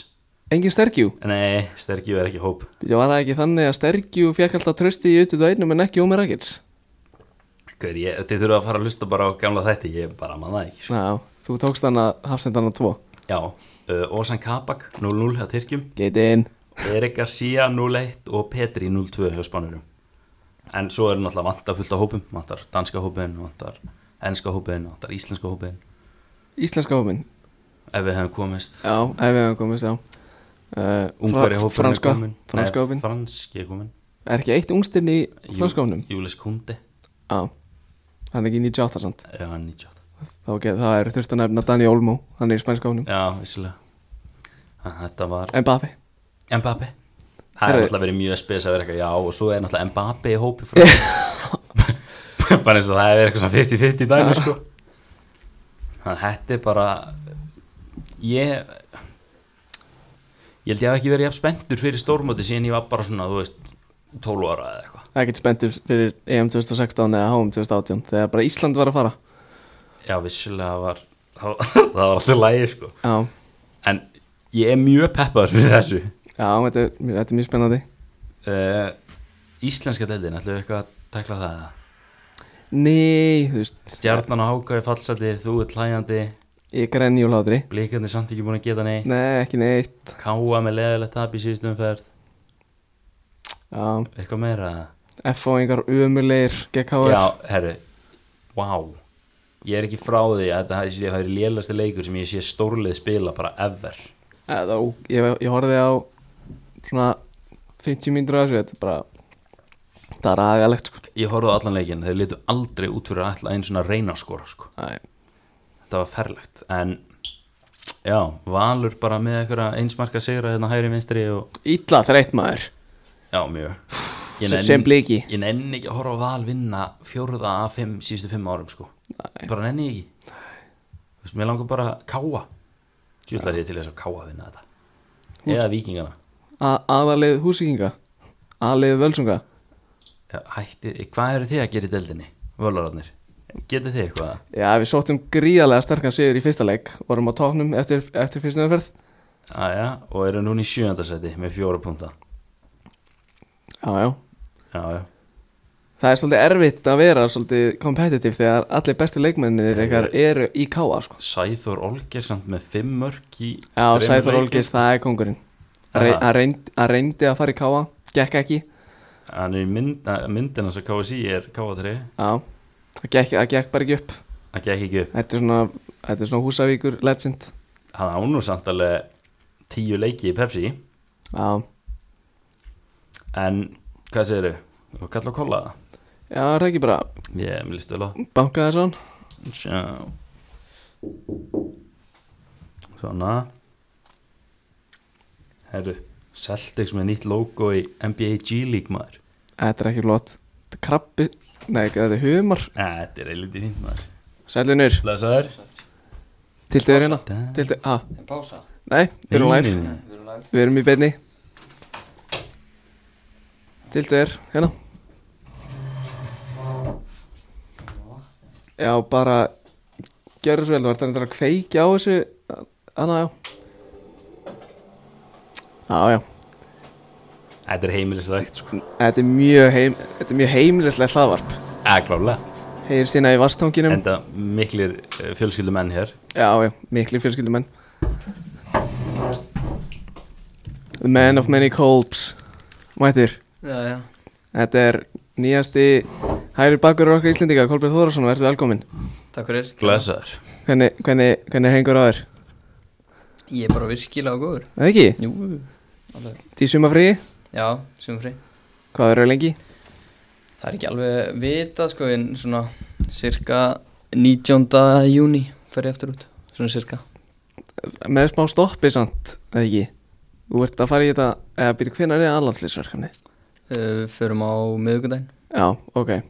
Speaker 1: Engin sterkjú
Speaker 2: nei, Stergju er ekki í hóp
Speaker 1: Ég var það ekki þannig að sterkjú fekk alltaf trösti í U21 en ekki Ómer Akits
Speaker 2: Hver, ég, þið þurfa að fara að lusta bara á gamla þætti ég bara manna það ekki sko.
Speaker 1: Já, þú tókst hann að hafstendana tvo
Speaker 2: já, uh, Osan Kabak 0-0 hjá Tyrkjum
Speaker 1: Get in
Speaker 2: Erik Garcia 0-1 og Petri 0-2 hjá Spanurum en svo er náttúrulega vantar fullt af hópum vantar danska hópin, vantar enska hópin vantar íslenska hópin
Speaker 1: Íslenska hópin
Speaker 2: ef við hefum komist
Speaker 1: Já, ef við hefum komist, já uh,
Speaker 2: Ungveri hópin
Speaker 1: franska,
Speaker 2: er komin
Speaker 1: franska
Speaker 2: Nei,
Speaker 1: hópin
Speaker 2: franski er komin
Speaker 1: Er ekki eitt ungstirn í
Speaker 2: Jú-
Speaker 1: franska hópinum?
Speaker 2: Júlis Kundi
Speaker 1: Já Hann er ekki 98 samt
Speaker 2: Já, hann 98
Speaker 1: Þá get, Það er þurft að nefna Dani Olmo Hann er í spænska hópinum
Speaker 2: Já, vissilega Þetta var
Speaker 1: En Bafi
Speaker 2: Mbappe það er
Speaker 1: Herri.
Speaker 2: náttúrulega verið mjög spes að vera eitthvað já og svo er náttúrulega Mbappe í hópi frá bara eins og það er verið eitthvað svona 50-50 í dæmi sko þannig að þetta er bara ég ég held ég hafi ekki verið jafn spenntur fyrir stórmóti síðan ég var bara svona þú veist 12 ára eða eitthvað
Speaker 1: ekkert spenntur fyrir EM 2016 eða HM 2018 þegar bara Ísland var að fara
Speaker 2: já vissulega var það var- það var alltaf lægi sko
Speaker 1: já,
Speaker 2: en ég er mjög peppaður fyrir þessu
Speaker 1: já þetta, er, þetta er mjög spennandi
Speaker 2: uh, íslenska deildin ætlum við eitthvað að tekla það eða?
Speaker 1: nei, þú veist,
Speaker 2: stjarnan og hákaði fallseti, þú er hlæjandi
Speaker 1: ég grenni og hlátri
Speaker 2: blikarnir samt ekki búin að geta neitt
Speaker 1: nei, ekki neitt
Speaker 2: káa með leðilegt tap í síðustu umferð
Speaker 1: já,
Speaker 2: eitthvað meira
Speaker 1: F-fáingar umulegir gegn
Speaker 2: já,
Speaker 1: HR
Speaker 2: herru, wow ég er ekki frá því að þetta hafi- það er lélasti leikur sem ég sé stórlið spila bara ever
Speaker 1: Eða, ó, ég, ég horfði á svona 50 mínútur af þessu þetta er bara það er agalegt sko.
Speaker 2: ég horfði á allan leikin, þeir litu aldrei út fyrir að ætla einu svona reyna að skora sko.
Speaker 1: Æ,
Speaker 2: þetta var ferlegt en já, Valur bara með einhverja einsmarka sigra hérna hægri vinstri og
Speaker 1: illa þreytt maður
Speaker 2: já, mjög Ég
Speaker 1: sem, sem bliki
Speaker 2: ég nenni ekki að horfa á Val vinna fjórða að fimm síðustu fimm árum sko. bara nenni ég ekki Þú veist, mér langar bara að káa tjóðlar ég til þess að káa að vinna þetta eða vikingana
Speaker 1: A- aðalið húsíkinga aðalið völsunga
Speaker 2: Já, hætti, eh, hvað eru þið að gera í deldinni völararnir, getið þið eitthvað
Speaker 1: já, við sóttum gríðarlega sterkan sigur í fyrsta leik vorum á tóknum eftir, eftir fyrstu umferð
Speaker 2: aðja, og eru núna í sjöndasæti með fjóra punta
Speaker 1: já, já
Speaker 2: já, já,
Speaker 1: það er svolítið erfitt að vera svolítið kompetitiv þegar allir bestu leikmennir ykkar eru í káa sko.
Speaker 2: Sæþór Olger samt með fimm mörk í
Speaker 1: já,
Speaker 2: þremur
Speaker 1: Sæþór
Speaker 2: leikjum.
Speaker 1: Olgis, það er kongurinn
Speaker 2: Aha.
Speaker 1: að reynd, hann reyndi að fara í káa gekk ekki,
Speaker 2: hann er í mynd, að- myndin hans að KSI er K3
Speaker 1: já það gekk, það gekk bara ekki upp
Speaker 2: hann gekk ekki upp,
Speaker 1: þetta er svona, þetta er svona húsavíkur legend
Speaker 2: hann ánur samt alveg tíu leiki í Pepsi
Speaker 1: já,
Speaker 2: en hvað segir þau, þú kallar að kolla það
Speaker 1: já, það er ekki bara
Speaker 2: ég, mér listu vel á það.
Speaker 1: bankaði þessan
Speaker 2: sjá svona herru Celtics með nýtt logo í NBA G-League maður
Speaker 1: þetta er ekki flott, þetta er krabbi nei, þetta er humar
Speaker 2: Æ, þetta er eilítið fínt maður
Speaker 1: Sælunur,
Speaker 2: Blesaður
Speaker 1: tiltu er hérna
Speaker 2: Da-
Speaker 1: Tiltu, ha,
Speaker 4: En pása?
Speaker 1: nei, við erum live
Speaker 2: Nei, nei, nei.
Speaker 4: Við erum live.
Speaker 1: Við erum í beinni Tiltu er hérna Já, bara Gjörðu svo vel, þú ert að reyndar að kveikja á þessu Þannig já Já, já
Speaker 2: Þetta er heimilisrækt sko
Speaker 1: Þetta er mjög, heim, þetta er mjög heimilislega hlaðvarp
Speaker 2: Eða klálega
Speaker 1: Heyrist þína í vastanginum
Speaker 2: Enda miklir eh, fjölskyldumenn hér
Speaker 1: Já, já, miklu fjölskyldumenn The man of many colbs Mættir
Speaker 4: Já, já.
Speaker 1: Þetta er nýjasti hægri bakur okkar Íslendinga, Kolbjörn Þórðarsson, verður velkominn
Speaker 4: Takk fyrir.
Speaker 2: Blesaður
Speaker 1: hvernig, hvernig, hvernig hengur á þér?
Speaker 4: Ég er bara virkilega góður.
Speaker 1: Það ekki?
Speaker 4: Jú. Alveg.
Speaker 1: Því sumafríi?
Speaker 4: Já, sumfri.
Speaker 1: Hvað verður lengi?
Speaker 4: Það er ekki alveg vita, sko, en svona cirka 19. júni fer ég aftur út. Svona cirka.
Speaker 1: Með smá stoppi samt, það ekki? Þú ert að fara í þetta, eða byrja hvenær er aðlandslýsverkefni?
Speaker 4: Uh, förum á miðugundaginn.
Speaker 1: Já, ok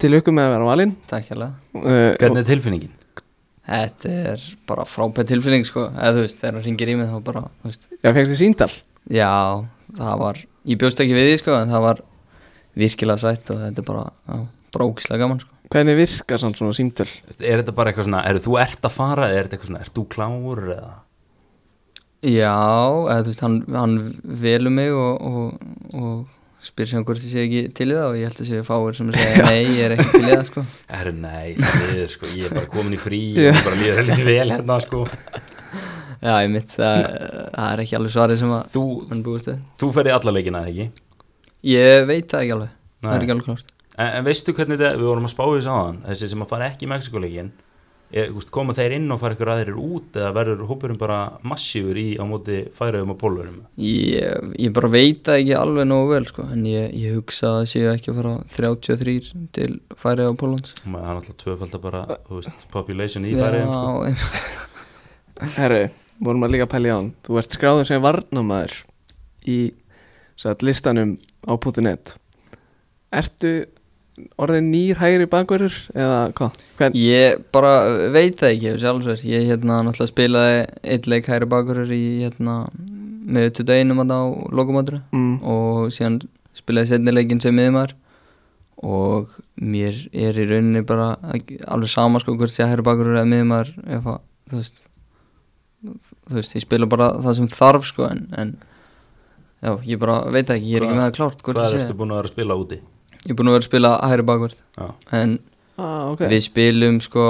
Speaker 1: Til ykkur með að vera valinn
Speaker 4: Takk hérlega.
Speaker 1: uh,
Speaker 2: Hvernig er tilfinningin?
Speaker 4: Þetta er bara frábæð tilfinning, sko. Eða þú veist, þegar hann ringir í mig þá bara, þú veist.
Speaker 1: Já, fegst þið síndal?
Speaker 4: Já, það var, ég bjóst ekki við því, sko, en það var virkilega sætt og þetta er bara, já, bara ógislega gaman, sko.
Speaker 1: Hvernig virkar samt svona símtöl?
Speaker 2: Er þetta bara eitthvað svona, er þú ert að fara eða er þetta eitthvað svona, ert þú klár eða
Speaker 4: Já, eða þú veist, hann, hann velur mig og, og, og spyr sem hvort ég sé ekki til í það og ég held að séu fáir sem segja nei, ég er ekki til í það, sko.
Speaker 2: Herru, nei, það er sko, ég er bara komin í frí yeah. bara líður helviti vel hérna sko
Speaker 4: Já, ég mitt, það, það er ekki alveg svarið sem að
Speaker 2: Þú,
Speaker 4: mann búist við.
Speaker 2: þú ferði alla leikina eða ekki
Speaker 4: Ég veit það ekki alveg, það
Speaker 2: Nei.
Speaker 4: er ekki alveg klart.
Speaker 2: en, en veistu hvernig þetta, við vorum að spá þess aðan þessi sem að fara ekki í Mexikoleikin er, þú veist, koma þeir inn og fara ykkur aðrir út eða verður hópurum bara massífur í á móti færaðum og pólverum
Speaker 4: Ég, ég bara veit það ekki alveg nógu vel, sko, en ég, ég hugsa að það séu ekki að fara 33 til færið á Pólunds.
Speaker 2: og maður er alltaf tvöfaldar bara, þú veist, population í færaðum sko.
Speaker 4: Já, einmitt.
Speaker 1: Herru, vorum að líka að pæla í án Þú ert skráður sem varnamaður í satt, listanum á .net Ertu orðin nýr hægri bakverður eða hvað? Hvern,
Speaker 4: Ég bara uh, veit það ekki sjálfsver. Ég hérna náttúrulega spilaði eitt leik hægri bakurur í hérna með 21 mann á lokumátur
Speaker 1: mm,
Speaker 4: og síðan spilaði setni leikin sem miðumar og mér er í rauninni bara ekki- alveg sama sko hvort sé hægri bakurur eða miðumar ef að þú veist þú veist, ég spila bara það sem þarf sko en, en já, ég bara veit það ekki, ég er ekki með það klárt hvort
Speaker 2: Hvað er
Speaker 4: ég sé
Speaker 2: eftir búin að vera að spila úti?
Speaker 4: ég er búin að vera að spila hægri bakurð
Speaker 2: Já,
Speaker 4: en
Speaker 1: ah, okay.
Speaker 4: Við spilum sko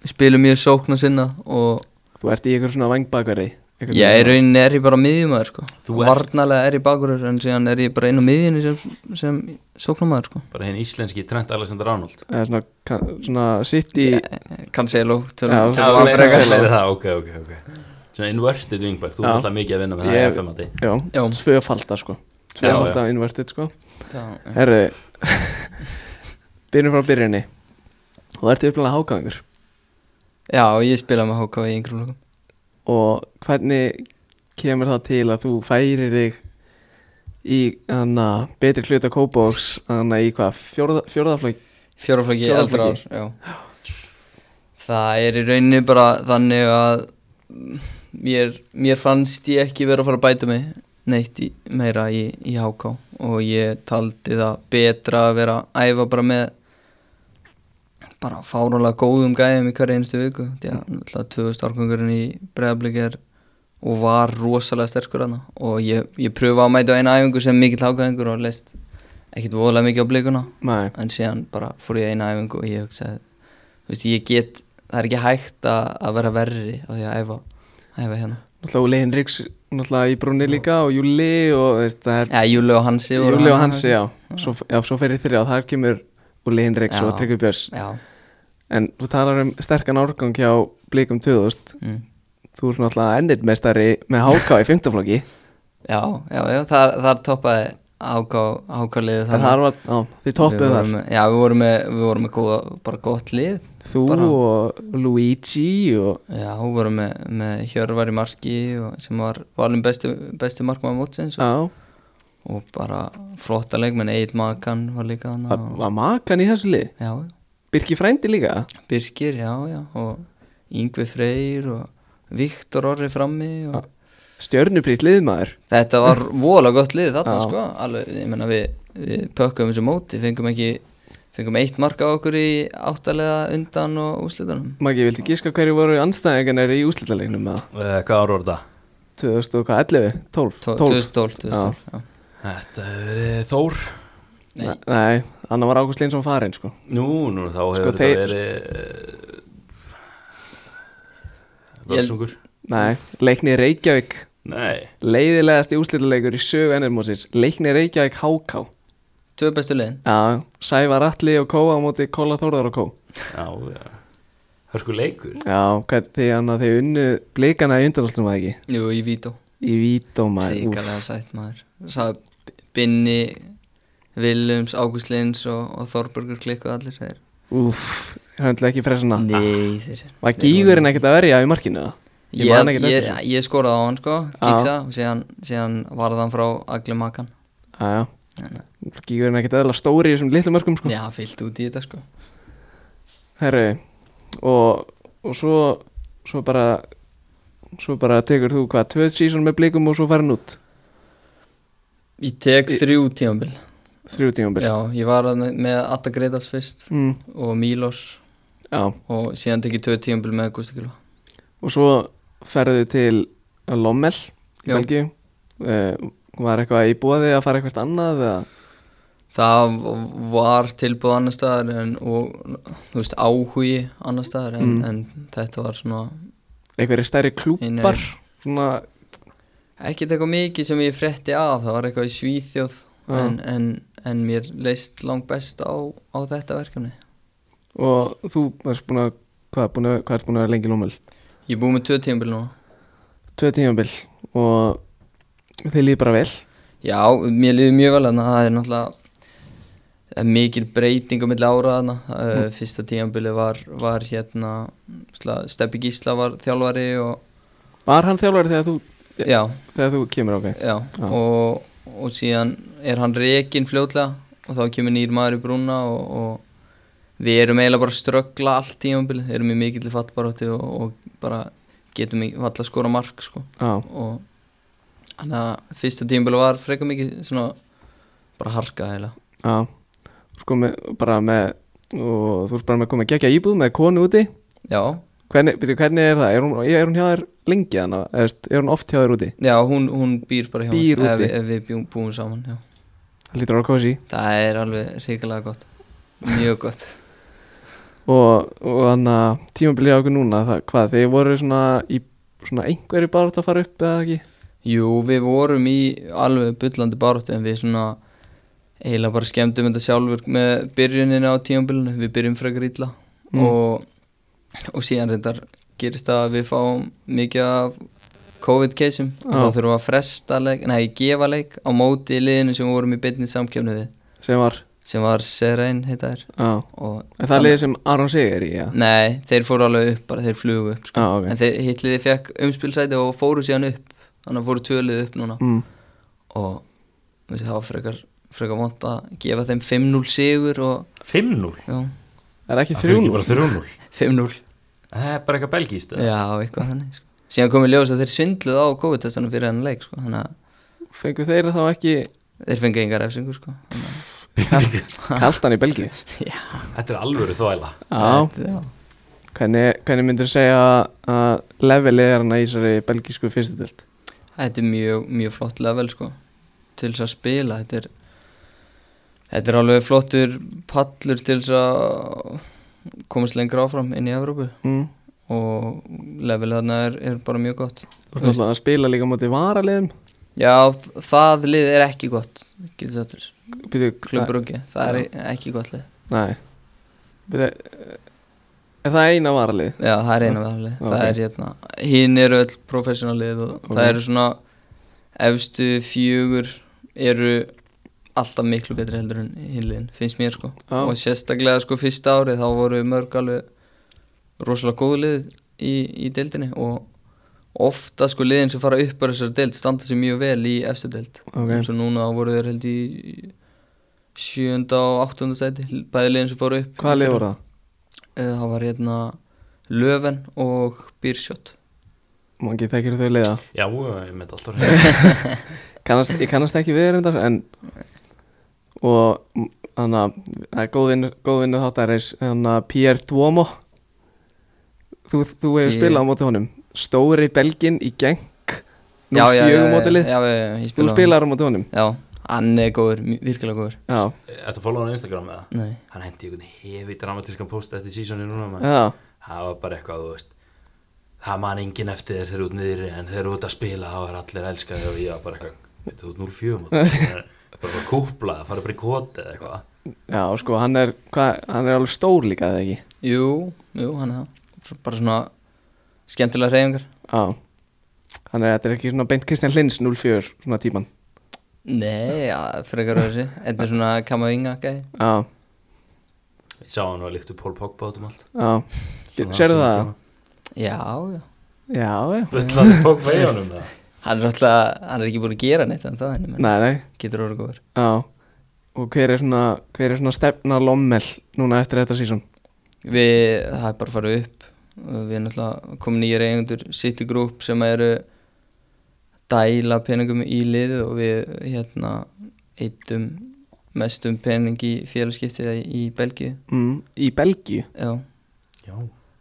Speaker 4: við Spilum mjög sókna sinna Og
Speaker 1: Þú ert í einhver svona vangbakverði
Speaker 4: ég er rauninni er ég bara miðjumæður sko
Speaker 2: Þú ert-
Speaker 4: Varnalega er ég bakurur En síðan er ég bara inn á miðjunni sem, sem sóknamæður sko
Speaker 2: bara hinn íslenski Trent Alexander Arnold
Speaker 1: Eða svona, ka- svona sitt í
Speaker 4: Cancelo
Speaker 1: Já,
Speaker 4: tölum- tölum
Speaker 2: Já,
Speaker 1: var
Speaker 4: af
Speaker 2: meira-
Speaker 4: frekar.
Speaker 1: Cancelo.
Speaker 2: meira það, ok, ok, ok Svona inverted wingback, þú
Speaker 1: Já.
Speaker 2: er alltaf mikið að vinna með það
Speaker 1: Ég-
Speaker 2: í FM-ati
Speaker 1: Já,
Speaker 4: Já.
Speaker 1: tvöfalda sko
Speaker 2: Já,
Speaker 1: Tvöfalda invertið sko
Speaker 4: Já, já.
Speaker 1: Herru Byrjum frá byrjunni Og ertu upplega hágangur
Speaker 4: Já, ég spila með HK í einhverjum lókum
Speaker 1: Og hvernig kemur það til að þú færir þig í hana, betri hluta kópóks hana, í hvað, fjórða, fjórðaflæk
Speaker 4: Fjóraflöki
Speaker 1: Fjóraflokki.
Speaker 4: eldra ár já. Það er í rauninni bara þannig að mm, mér, mér fannst ég ekki vera að fara að bæta mig neitt í, meira í, í HK og ég taldi það betra að vera að æfa bara með bara fárónlega góðum gæðum í hverja einstu viku því að náttúrulega 2000 árkongurinn í breðablik er og var rosalega sterkur hana og ég, ég pröfa að mæta á eina æfingu sem mikill hákaðingur og leist ekkit voðalega mikið á blikuna
Speaker 1: Nei,
Speaker 4: en síðan bara fór ég í eina æfingu og ég hugsaði þú veist, ég get, það er ekki hægt að, að vera verri á því að æfa, æfa hérna
Speaker 1: náttúrulega Úli Henriks náttúrulega í brúnni líka og Júli og veist, það er
Speaker 4: Já, Júli og Hansi voru hérna.
Speaker 1: Júli og
Speaker 4: hann-
Speaker 1: Hansi, já Svo, já, svo fer ég þrjá, þar kemur Úli Henriks
Speaker 4: Já.
Speaker 1: og Tryggvi Björns
Speaker 4: Já,
Speaker 1: En þú talar um sterkan árgang hjá Blikum 2000
Speaker 4: mm.
Speaker 1: Þú ert náttúrulega ennirmeistari með háká í fimmtaflokki
Speaker 4: já, já, já þar, þar toppaði ákvæðlið
Speaker 1: En það var, á, þið toppuðu þar
Speaker 4: Já, við vorum með, við vorum með góða, bara gott lið
Speaker 1: Þú
Speaker 4: bara,
Speaker 1: og Luigi og
Speaker 4: Já, við vorum með, með Hjörvar í marki og, sem var valin besti, besti markmaður mótsins og,
Speaker 1: Já,
Speaker 4: og bara flotta leikmenn, Eid Makan var líka hann
Speaker 1: það var makan í þessu lið
Speaker 4: Já, já
Speaker 1: Birki frændi líka
Speaker 4: Birgir, já, já og Yngvi Freyr og Viktor Orri frammi og
Speaker 1: Stjörnubrýtt liðmaður
Speaker 4: þetta var voðalega gott lið þarna
Speaker 1: Já.
Speaker 4: sko alveg, ég menna við, við pökkum þessu móti fengum ekki, fengum eitt mark á okkur í áttalega undan og úslitunum
Speaker 1: Maggi, viltu gíska hverju voru anstæðingarnir í úslitalegnum með
Speaker 2: Eh, Hvað ára voru þetta?
Speaker 1: 2000 og hvað, 11? 12? 12?
Speaker 4: 2012, 2012 já.
Speaker 2: Þetta hefur verið Þór
Speaker 1: Nei, Nei annar var Ágúst Linsson farinn sko
Speaker 2: Nú, nú, þá hefur
Speaker 1: þeir-
Speaker 2: þetta verið eh,
Speaker 4: Ég-
Speaker 2: Völsungur
Speaker 1: Nei, leikni Reykjavík
Speaker 2: Nei,
Speaker 1: Leiðilegasti úslitalegur í sögu ennirmósins Leikni Reykjavík HK
Speaker 4: tvö bestu liðin
Speaker 1: Já, Sævar Atli og Kó á móti Kóla Þórðar og Kó
Speaker 2: já, já Hörku leikur
Speaker 1: Já, hvern, því hann að þið unnu blikana í undanáttunum að ekki
Speaker 4: jú, í Vító,
Speaker 1: Í vítómaður
Speaker 4: ríkalega sætt maður Sá, Binni Viljums, Ágúst Lins og, og Þorbergur klikkuð allir þeir
Speaker 1: Úf, höndla ekki
Speaker 4: Ah.
Speaker 1: fressuna
Speaker 4: Nei, þeir
Speaker 1: Var gígurinn ekkert að verja í markinu það? Ég
Speaker 4: Ég,
Speaker 1: man
Speaker 4: ég,
Speaker 1: ekkert
Speaker 4: ég,
Speaker 1: eftir því.
Speaker 4: skoraði á hann sko,
Speaker 1: Já.
Speaker 4: Gigsa og síðan, síðan varði hann frá allir makan
Speaker 1: Ah, Já, já Gígurinn ekkert aðeins stóri í þessum litlu mörgum sko
Speaker 4: Já, fyllt út í þetta sko
Speaker 1: Herru, og, og svo, svo bara Svo bara tekur þú hvað, tvöð sísón með blikum og svo farin út
Speaker 4: Ég tek þrjú tímabil
Speaker 1: Þrjú tímabil
Speaker 4: Já, ég var þarna með Atta Gretas fyrst
Speaker 1: mm,
Speaker 4: og Mílos
Speaker 1: Já,
Speaker 4: og síðan tek ég tvö tímabil með Gusti Kilva
Speaker 1: og svo ferðu til Lommel í
Speaker 4: Já.
Speaker 1: Belgíu uh, Var eitthvað í bóði að fara eitthvað annað eða?
Speaker 4: Það v- var tilbúð annar staðar en, og þú veist áhugi annar staðar
Speaker 1: Mm.
Speaker 4: en, en þetta var svona
Speaker 1: einhverju stærri klúpar
Speaker 4: Nei,
Speaker 1: svona,
Speaker 4: ekkert eitthvað mikið sem ég frétti af það var eitthvað í Svíþjóð
Speaker 1: Já.
Speaker 4: en, en, en mér leist langt best á, á þetta verkefni
Speaker 1: og þú varst búin að hvað, búin að, hvað ert búin að vera lengi lómul
Speaker 4: Ég er búið með tvö tímabil núna
Speaker 1: tvö tímabil og þið líður bara vel
Speaker 4: Já, mér liður mjög vel þarna Það er náttúrulega það er mikil breyting á milli ára þarna uh, Fyrsta tímabili var, var hérna náttúrulega Steppi Gísla var þjálfari og
Speaker 1: var hann þjálfari þegar þú,
Speaker 4: Já,
Speaker 1: þegar þú kemur ákveð
Speaker 4: já, Og, og síðan er hann rekin fljótlega og þá kemur nýr maður í brúna og, og við erum eiginlega bara að ströggla allt tímabilið, erum í mikill fattbaróttu og, og bara getum í valla að skora mark sko
Speaker 1: Já,
Speaker 4: og þannig að fyrsta tímabilið var frekar mikið svona bara harka eiginlega
Speaker 1: já Sko með, bara með og þú ert bara með að koma að gegja íbúð með konu úti
Speaker 4: Já,
Speaker 1: Hvernig, byrju, hvernig er það? Er hún, er hún hjá þér lengi þannig? Eðst, er hún oft hjá þér úti?
Speaker 4: já hún, hún býr bara hjá mér
Speaker 1: Býr
Speaker 4: ef,
Speaker 1: úti.
Speaker 4: ef við bjúum, búum saman já.
Speaker 1: Það lítur að vera kósi
Speaker 4: Það er alveg ríkilega gott Mjög gott
Speaker 1: og, og þannig að tímabilið á okkur núna það, hvað, þeir voru svona í svona einhverju bara að fara upp eða ekki
Speaker 4: Jú, við vorum í alveg byllandi baráttu en við svona eiginlega bara skemmtum þetta sjálfur með byrjuninni á tímabilinu, við byrjum frekar illa
Speaker 1: Mm.
Speaker 4: og, og síðan reyndar gerist það að við fáum mikið af COVID-keisum og
Speaker 1: Já.
Speaker 4: þá þurfum við að fresta leik, nei, gefa leik á móti í liðinu sem við vorum í byrjunni samkjöfni við
Speaker 1: sem var,
Speaker 4: sem var Serain, heita þær
Speaker 1: já,
Speaker 4: og
Speaker 1: en það er liðið sem Aron Sigur í, já,
Speaker 2: Mm.
Speaker 4: Nei, þeir fóru alveg upp, bara þeir flugu upp sko.
Speaker 1: já, ok
Speaker 4: en þeir hitliði fekk umspilsæti og fóru síðan upp þannig að fóru tvölið upp núna
Speaker 1: mm,
Speaker 4: og veistu, það var frekar, frekar vond að gefa þeim 5-0 sigur og
Speaker 2: 5-0
Speaker 4: já,
Speaker 1: er ekki
Speaker 2: Það er ekki
Speaker 1: þrjún
Speaker 2: bara 3-0
Speaker 4: 5-0
Speaker 2: Það er bara eitthvað belgíst eða?
Speaker 4: já, eitthvað þannig sko. síðan komið ljós að þeir svindluð á COVID-testanum fyrir hennan leik sko. þannig að
Speaker 1: fengu þeir þá ekki
Speaker 4: þeir fengið engar efsingu sko. Þannig að-
Speaker 1: kaltan í Belgíu
Speaker 2: Þetta er alvöru þvæla
Speaker 1: já,
Speaker 4: Þetta- já.
Speaker 1: hvernig, hvernig myndir segja að levelið er hana í þessari belgísku fyrstu dild
Speaker 4: þetta er mjög, mjög flott level sko. til þess að spila þetta er, þetta er alveg flottur pallur til þess að komast lengra áfram inn í Evrópu
Speaker 1: mm.
Speaker 4: og levelið þarna er, er bara mjög gott
Speaker 1: þú veist að spila líka mútið varaliðum
Speaker 4: Já, það lið er ekki gott getur þetta þér,
Speaker 1: byrju,
Speaker 4: klubbruggi það er ekki gott lið
Speaker 1: nei byrju, er það eina varalið
Speaker 4: Já, það er eina við það lið, það
Speaker 1: Ok.
Speaker 4: er hérna hinn eru öll professional lið og
Speaker 1: Ok.
Speaker 4: það eru svona efstu fjögur eru alltaf miklu betri heldur en hinn liðin, finnst mér sko
Speaker 1: Já.
Speaker 4: og sérstaklega sko fyrsta árið þá voru mörg alveg rosalega góð lið í, í deildinni og ofta sko liðin sem fara upp á þessari deild standa sér mjög vel í efstu deild
Speaker 1: Ok.
Speaker 4: eins og núna þá voru þeir held í sjönda og áttunda sæti bæði liðin sem fóru upp
Speaker 1: hvaða lið voru það?
Speaker 4: Eh, Það var hérna Löven og Byrsjótt
Speaker 1: mangi þekkir þau liða
Speaker 2: Já, ég með alltaf reynd
Speaker 1: kannast, ég kannast ekki við reyndar en og m- þannig að það er góð vinnu, góð vinnu þáttarins þannig að Pierre Duomo þú, þú hefur
Speaker 4: Pierre.
Speaker 1: spilað á móti honum stóri belgin í geng nú
Speaker 4: já, já,
Speaker 1: fjögum
Speaker 4: já,
Speaker 1: mótilið
Speaker 4: Já, já, já, ég
Speaker 1: þú
Speaker 4: spila á
Speaker 1: spilar á móti honum
Speaker 4: honum. Já, hann er góður, mj- virkilega góður
Speaker 1: já,
Speaker 2: Þetta fólk hann á Instagram eða?
Speaker 4: Nei,
Speaker 2: Hann hendi einhvern hefi dramatískan post eftir sísoni núna maður
Speaker 1: já,
Speaker 2: Það var bara eitthvað, þú veist Það man enginn eftir þér þeir eru út niðri en þeir eru út að spila, það var allir elskaði og ég var bara eitthvað, þetta er út 0-4 mót. Það er bara bara kúpla, það fara bara í koti eða eitthvað
Speaker 1: já, sko hann er hva, hann er alveg stór líka eða ekki
Speaker 4: jú, jú, hann er það Svo Bara svona skemmtilega reyfingar
Speaker 1: já hann er, þetta er ekki svona beint Kristján Lins 04 svona tíman
Speaker 4: Nei, já, frekar öðru sér Þetta er svona kamavinga, gæði
Speaker 1: já,
Speaker 2: Ég sá hann var líkt upp Pól Pogba út um allt
Speaker 1: já, sérðu það?
Speaker 4: Já, já
Speaker 1: já, já,
Speaker 2: Bullandi Pogba í honum það
Speaker 4: Hann er alltaf, hann er ekki búin að gera neitt en það henni, menn
Speaker 1: nei, nei
Speaker 4: Getur orðið góður
Speaker 1: Já, og hver er svona, hver er svona stefna lommel núna eftir þetta sísón?
Speaker 4: Við, það er bara að fara upp við erum náttúrulega komin nýjir eigendur City Group sem eru dæla peningum í liðið og við hérna eittum mestum pening í félagskiptið í Belgíu
Speaker 1: Mm, í Belgíu.
Speaker 4: já.
Speaker 2: Já,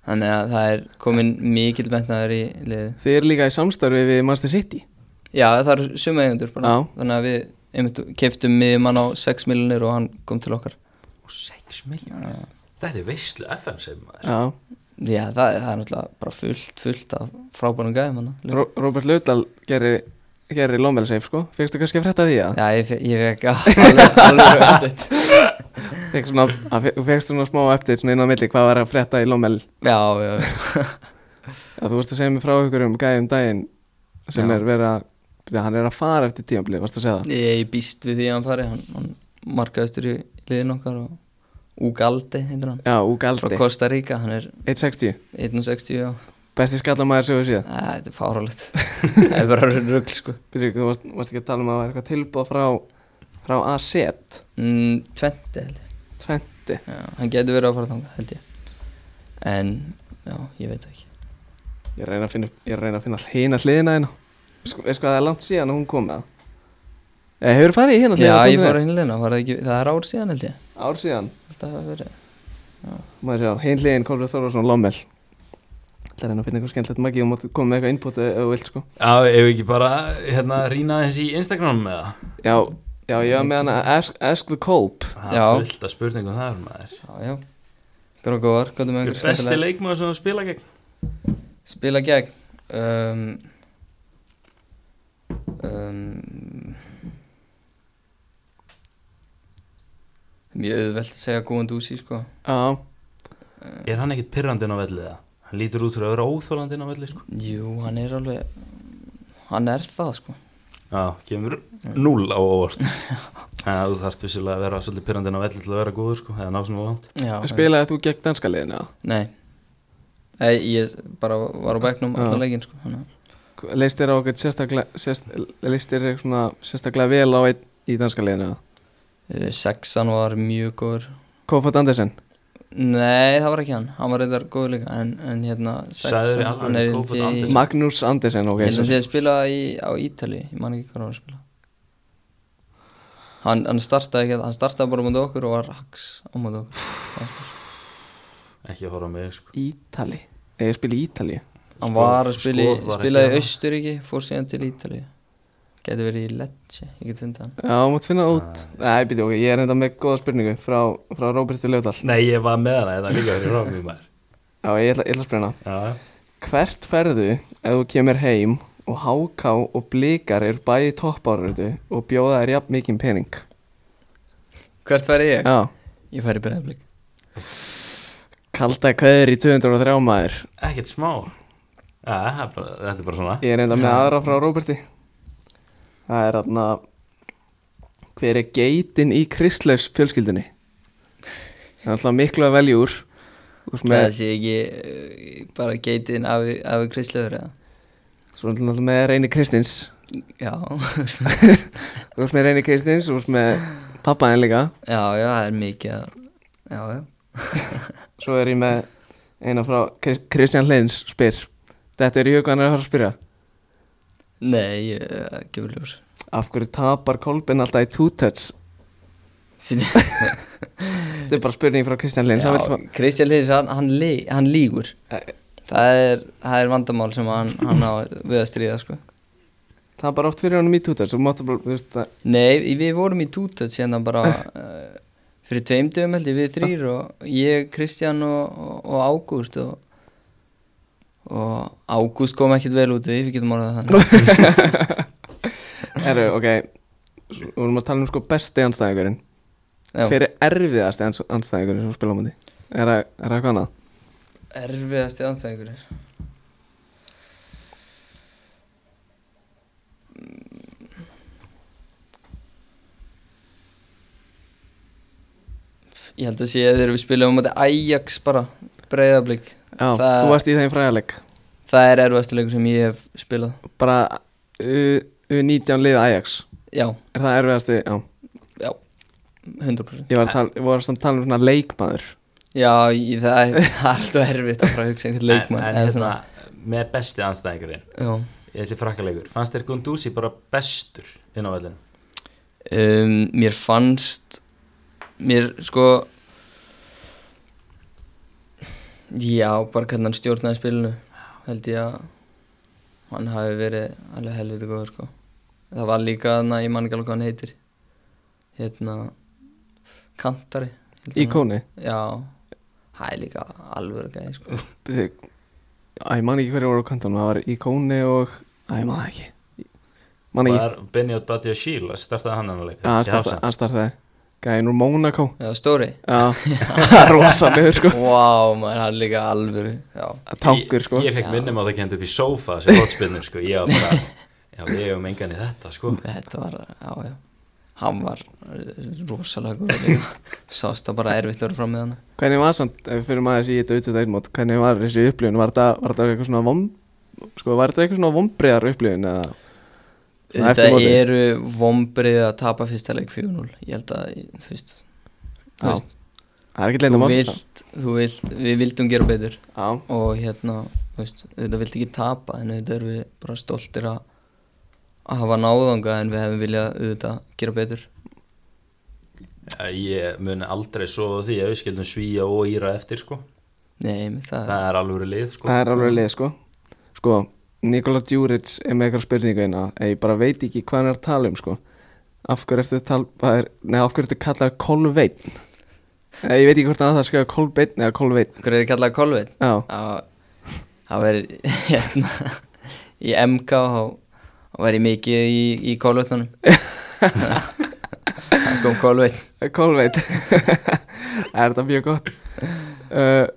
Speaker 4: þannig að það er komin mikill metnaður í liðið
Speaker 1: Þið eru líka í samstarfi við Manchester City.
Speaker 4: já það eru sum eigendur bara
Speaker 1: Já.
Speaker 4: þannig að við einmitt, keftum miðjumann á 6 miljonir og hann kom til okkar
Speaker 2: og 6 miljónir Þetta er veistlu FM sem maður
Speaker 1: Já,
Speaker 4: já það, það er náttúrulega bara fullt fullt af frábærum gæðum hann
Speaker 1: Ró Robert Laudal gerir gerði lommel seif sko. Fegstu kannski að frétta því að?
Speaker 4: Já, ég, fe- ég fekk alveg, alveg update
Speaker 1: Fegstu svona, að fe- fékkst svona smá eftir svona inn á milli hvað var að frétta í lommel?
Speaker 4: Já, já,
Speaker 1: Að þú varst að segja mér frá ykkur um gæðum daginn sem
Speaker 4: Já.
Speaker 1: er verið að, Bíddu, hann er að fara eftir tíamblið, varst að segja það?
Speaker 4: ég ég býst við því að hann fari hann, hann markaðistur í liðin okkar og Ugalde heitir hann
Speaker 1: Já, úr
Speaker 4: frá
Speaker 1: galdi,
Speaker 4: Costa Rica, hann er
Speaker 1: 1.60.
Speaker 4: 1.60 já.
Speaker 1: Besti skallamæður sem við séð
Speaker 4: Æ, Þetta er fárálegt Það er bara rugl sko
Speaker 1: Byrju, þú varst, varst ekki að tala um að það var eitthvað tilbúð frá frá AZ
Speaker 4: mm, Tventi held ég
Speaker 1: 20
Speaker 4: já, Hann getur verið að fara þangað held ég En, já, ég veit það ekki
Speaker 1: Ég reyna að finna, ég reyna að finna hina hliðina hérna Sko, veist hvað það er langt síðan að hún kom með það Eða hefur farið í hérna
Speaker 4: Já,
Speaker 1: hliðina
Speaker 4: ég fór hinnleina, var það ekki Það er ár síðan held ég
Speaker 1: Ár síðan,
Speaker 4: Alltaf hafa verið
Speaker 1: maður sjá, hin hliðin Kolbrið Þorvarsson og Lommel Það er reyna að finna eitthvað skemmtilegt magi og mátt koma með eitthvað input ef ef þú vilt sko
Speaker 2: Já, ef við ekki bara hérna rýna eins í Instagram með það
Speaker 1: Já, já, ég var með hana Ask, ask the Kolb
Speaker 2: Það
Speaker 4: Já.
Speaker 2: er fullt að spurningum þar maður
Speaker 4: Já, já Gróð góðar, gott með
Speaker 2: Hver
Speaker 4: einhver
Speaker 2: er besti
Speaker 4: skemmtilega
Speaker 2: leikmaður sem þú spila gegn?
Speaker 4: Spila gegn um, um, Mjög auðvelt að segja góðan dúsi sko
Speaker 1: Já,
Speaker 2: Er hann ekkit pirrandi inn á vellið það? Hann lítur út fyrir að vera óþólandi inn á vellið sko
Speaker 4: Jú, hann er alveg Hann er það sko
Speaker 2: Já, kemur núl á óvart En þú þarft vissilega að vera svolítið pirrandi inn á vellið til að vera góður sko eða ná svona langt
Speaker 4: Já,
Speaker 1: spilaði þú gegn danska liðinu eða?
Speaker 4: Nei Nei, ég bara var á bæknum
Speaker 1: Já.
Speaker 4: allan leikinn sko þannig að-
Speaker 1: Leist þér á eitthvað sérstaklega sérst, Leist þér eitthvað svona sérstaklega vel á einn í danska liðinu eða?
Speaker 4: Eh, Sexan var mjög góður
Speaker 1: Kofot Andersen
Speaker 4: Nei, það var ekki hann, hann var reyndar góður líka En, en hérna,
Speaker 2: Sagðirðu
Speaker 4: Sexan,
Speaker 2: alveg
Speaker 4: hann er
Speaker 2: Kofod
Speaker 4: í
Speaker 2: Andersen?
Speaker 4: Ég
Speaker 1: Magnús Andersen, ok
Speaker 4: held að því
Speaker 1: svo-
Speaker 4: að spila í, á Ítali Ég man ekki hvað hann var að spila Hann, hann startaði ekki, hann startaði bara á mútið okkur og var raks á mútið okkur
Speaker 2: Ekki að horfa á mig sko
Speaker 1: Ítali Eða ég spila í Ítali
Speaker 2: Skoð-
Speaker 4: Hann var að spila,
Speaker 2: skoð var ekki
Speaker 4: spilaði í
Speaker 2: hana.
Speaker 4: Austuríki, fór síðan til Ítali Gæti verið í Lecce, ég get fundið hann
Speaker 1: Já, þú mátt finna það út Nei, býti, ok, ég er enda með góða spurningu frá, frá Róberti Ljóðal
Speaker 2: Nei, ég var með hana, þetta er líka fyrir rámið maður
Speaker 1: Já, ég ætla, ég ætla að spyrna
Speaker 2: Já, já
Speaker 1: Hvert ferðu ef þú kemur heim og háká og blikar eru bæði toppáröðu og bjóða þær jafn mikinn pening
Speaker 4: Hvert færi ég?
Speaker 1: Já,
Speaker 4: Ég færi breyðablík
Speaker 1: kalda kveður í 203 maður
Speaker 2: Ekkert smá Já, það er bara- þetta er bara svona
Speaker 1: Ég er enda með aðra frá Róberti Það er aðna Hver er geitin í kristlaus fjölskyldinni? Það er alltaf miklu að velja úr Úr
Speaker 4: Það
Speaker 1: með,
Speaker 4: sé ekki eh, bara geitinn afi, afi Kristleður eða
Speaker 1: svo er alltaf með reyni Kristins
Speaker 4: Já,
Speaker 1: Þú ert með reyni Kristins, þú ert með pappaðin líka
Speaker 4: já, já, það er mikið að Já, já,
Speaker 1: Svo er ég með eina frá Kris- Kristján Hleins spyr Þetta er í hugan að fara að spyrja
Speaker 4: nei, ég eh, gefur ljós
Speaker 1: Af hverju tapar Kolbin alltaf í two touch?
Speaker 4: Finn-
Speaker 1: Þetta er bara spurning frá Kristján Hleins hann vill
Speaker 4: Já,
Speaker 1: bara-
Speaker 4: Kristján Lins, hann, hann, lí, hann lígur
Speaker 1: Eh.
Speaker 4: Það er, það er vandamál sem hann, hann á við að stríða sko
Speaker 1: Tapar oft fyrir honum í two touch Þú máttu bara, þú veist það
Speaker 4: Nei, við vorum í tútöð síðan bara uh, fyrir tveim dögum held ég við þrýr og ég, Kristján og, og, og Ágúst og, og Ágúst kom ekkert vel út við, við getum orðað þannig
Speaker 1: Herru, ok Svo vorum að tala um sko besti anstæðingurinn
Speaker 4: Já,
Speaker 1: Hver er erfiðasti ans- anstæðingurinn sem þú spila á mandi? Er það er það hvað annað?
Speaker 4: erfiðasti anstæðingur er Ég held að sé að þegar við spilum á móti Ajax bara, breyðablík
Speaker 1: Já,
Speaker 4: Það-
Speaker 1: þú varst í þeim fræðarleik
Speaker 4: Það er erfiðasti leikur sem ég hef spilað
Speaker 1: Bara uh, U- U19 liða Ajax
Speaker 4: Já,
Speaker 1: Er það erfiðasti? Já,
Speaker 4: já, 100%
Speaker 1: ég var að tala, ég var að tala um svona leikmaður
Speaker 4: Já, ég, það, er, það er alltaf erfitt að fara að hugsa einhvern leikmann
Speaker 2: En, hérna-
Speaker 4: eða
Speaker 2: en
Speaker 4: svona,
Speaker 2: hérna, með besti anstæðingurinn
Speaker 4: já.
Speaker 2: þessi frakkaleikur, fannst þér Gundúsi bara bestur inn á vellinu?
Speaker 4: um, Mér fannst Mér sko Já, bara hvernig hann stjórnaði spilinu held ég að hann hafi verið alveg helviti góður sko. Það var líka þannig að ég man ekki alveg hvað hann heitir hérna Kantari held ég
Speaker 1: í
Speaker 4: hann-
Speaker 1: kóni
Speaker 4: Já, það er líka alveg gæði sko.
Speaker 1: Þið- Æ, ég man ekki hverju voru á kantanum Það var í kóni og Æ, ég man það ekki Man ekki
Speaker 2: Var Benjot Batia Shiel að startaði hann hann að leika?
Speaker 1: Já, hann starta- hann startaði Gæðin úr Mónakó
Speaker 4: Já, stóri
Speaker 1: Já, rosalegur sko
Speaker 4: Vá, wow, maður, hann er líka alvöru Já,
Speaker 1: Tankur sko
Speaker 2: Ég, ég fekk minnum á það kent upp í sófa sem hotspinnur sko, ég var bara, já við hefum engan í þetta sko
Speaker 4: þetta var, já, já hann var rosalega góður líka. sást það bara erfitt að vera fram með hann
Speaker 1: Hvernig var samt, ef við fyrir maður að sé þetta auðvitað einmót Hvernig var þessi upplifun, var þetta var þetta eitthvað svona vom, sko, var þetta eitthvað svona vombriðar upplifun eða Svona eftir
Speaker 4: þetta
Speaker 1: mótið?
Speaker 4: eru vombrið að tapa fyrsta leik 4-0 ég held að, þú veist, þú,
Speaker 1: Já,
Speaker 4: veist,
Speaker 1: það er ekki
Speaker 4: þú,
Speaker 1: leina mál
Speaker 4: vilt, þú vilt við vildum gera betur
Speaker 1: Já,
Speaker 4: og hérna, þú veist, þetta vilt ekki tapa en þetta eru við bara stoltir að að hafa náðanga en við hefum viljað auðvitað gera betur
Speaker 2: Já, Eh, Ég mun aldrei sofa á því að við skildum svíja og íra eftir sko.
Speaker 4: Nei,
Speaker 1: Eh.
Speaker 4: það,
Speaker 2: Það er alveg lið sko.
Speaker 1: það er alveg leið, sko Sko, Nikola Djuric er með eitthvað spurningu eina Ég bara veit ekki hvað hann er að tala um, sko Af hverju ertu, tal, hvað er, nei, af hverju ertu kallar kolveitn Eh, Ég veit ekki hvort hann að það skrifa kolbeitn eða kolveitn
Speaker 4: hver er kallað kolveit?
Speaker 1: Já,
Speaker 4: Það það verið hérna í MK þá þá var ég mikið í, í kólvetnunum það kom kólvetn
Speaker 1: kolveit Er þetta mjög gott uh,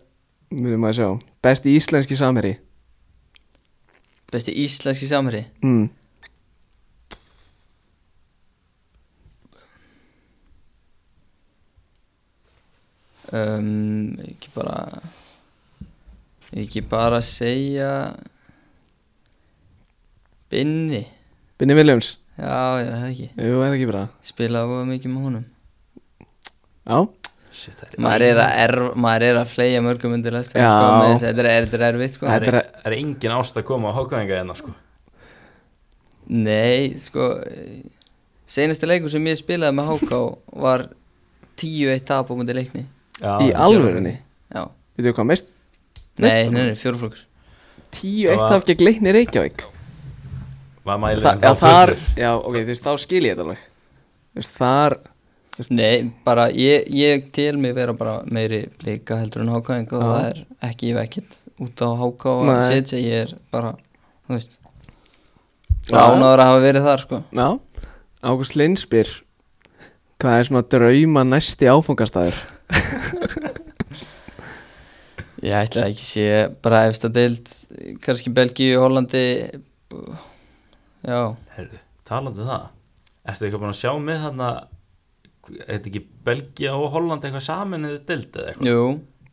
Speaker 1: Mjög maður sjá Besti íslenski samherji
Speaker 4: besti íslenski samherri
Speaker 1: mm.
Speaker 4: um, ekki bara ekki bara segja Binni
Speaker 1: Binni Williams
Speaker 4: já, já, það er ekki
Speaker 1: Jú, er ekki bra
Speaker 4: spilaði voða mikið með honum
Speaker 1: Já,
Speaker 2: Shit, það
Speaker 1: Eh.
Speaker 2: er-
Speaker 4: maður er að, erf, maður er að fleia mörgum undir lest
Speaker 1: Já.
Speaker 4: þetta er, þetta er erfitt sko.
Speaker 1: Þetta
Speaker 2: Það er, það er engin ást að koma á hákvæðinga hérna sko.
Speaker 4: Nei, sko Seinasta leikur sem ég spilaði með HK var 10-1 tap á mútið leikni
Speaker 2: Já,
Speaker 1: í
Speaker 2: það-
Speaker 1: alvörunni
Speaker 4: Já,
Speaker 1: Veitum við hvað mest?
Speaker 4: nei, nei, nei, fjóruflokkur
Speaker 1: Tíu eitt
Speaker 2: Það var-
Speaker 1: af gegn leikni Reykjavík
Speaker 2: Var mælið
Speaker 1: Þa, Já, þar Já, ok, þú veist, þá skil ég þetta alveg Þú veist, þar
Speaker 4: Nei, bara, ég, ég tel mig vera bara meiri blika heldur en HK
Speaker 1: Já.
Speaker 4: og það er ekki, ég hef ekkert út á HK og
Speaker 1: Nei.
Speaker 4: setja, ég er bara þú veist,
Speaker 1: Já.
Speaker 4: ránaður að hafa verið þar sko
Speaker 1: Já Ágúst Lindsbyr Hvað er svona drauma næsti áfangastæður?
Speaker 4: Ég ætla ekki sé bara efsta deild, kannski Belgíu, Hollandi Já,
Speaker 2: Herðu, talandi um það Ertu eitthvað búin að sjá með þarna Eitthvað ekki Belgia og Holland eitthvað samin eða deild eða eitthvað
Speaker 4: jú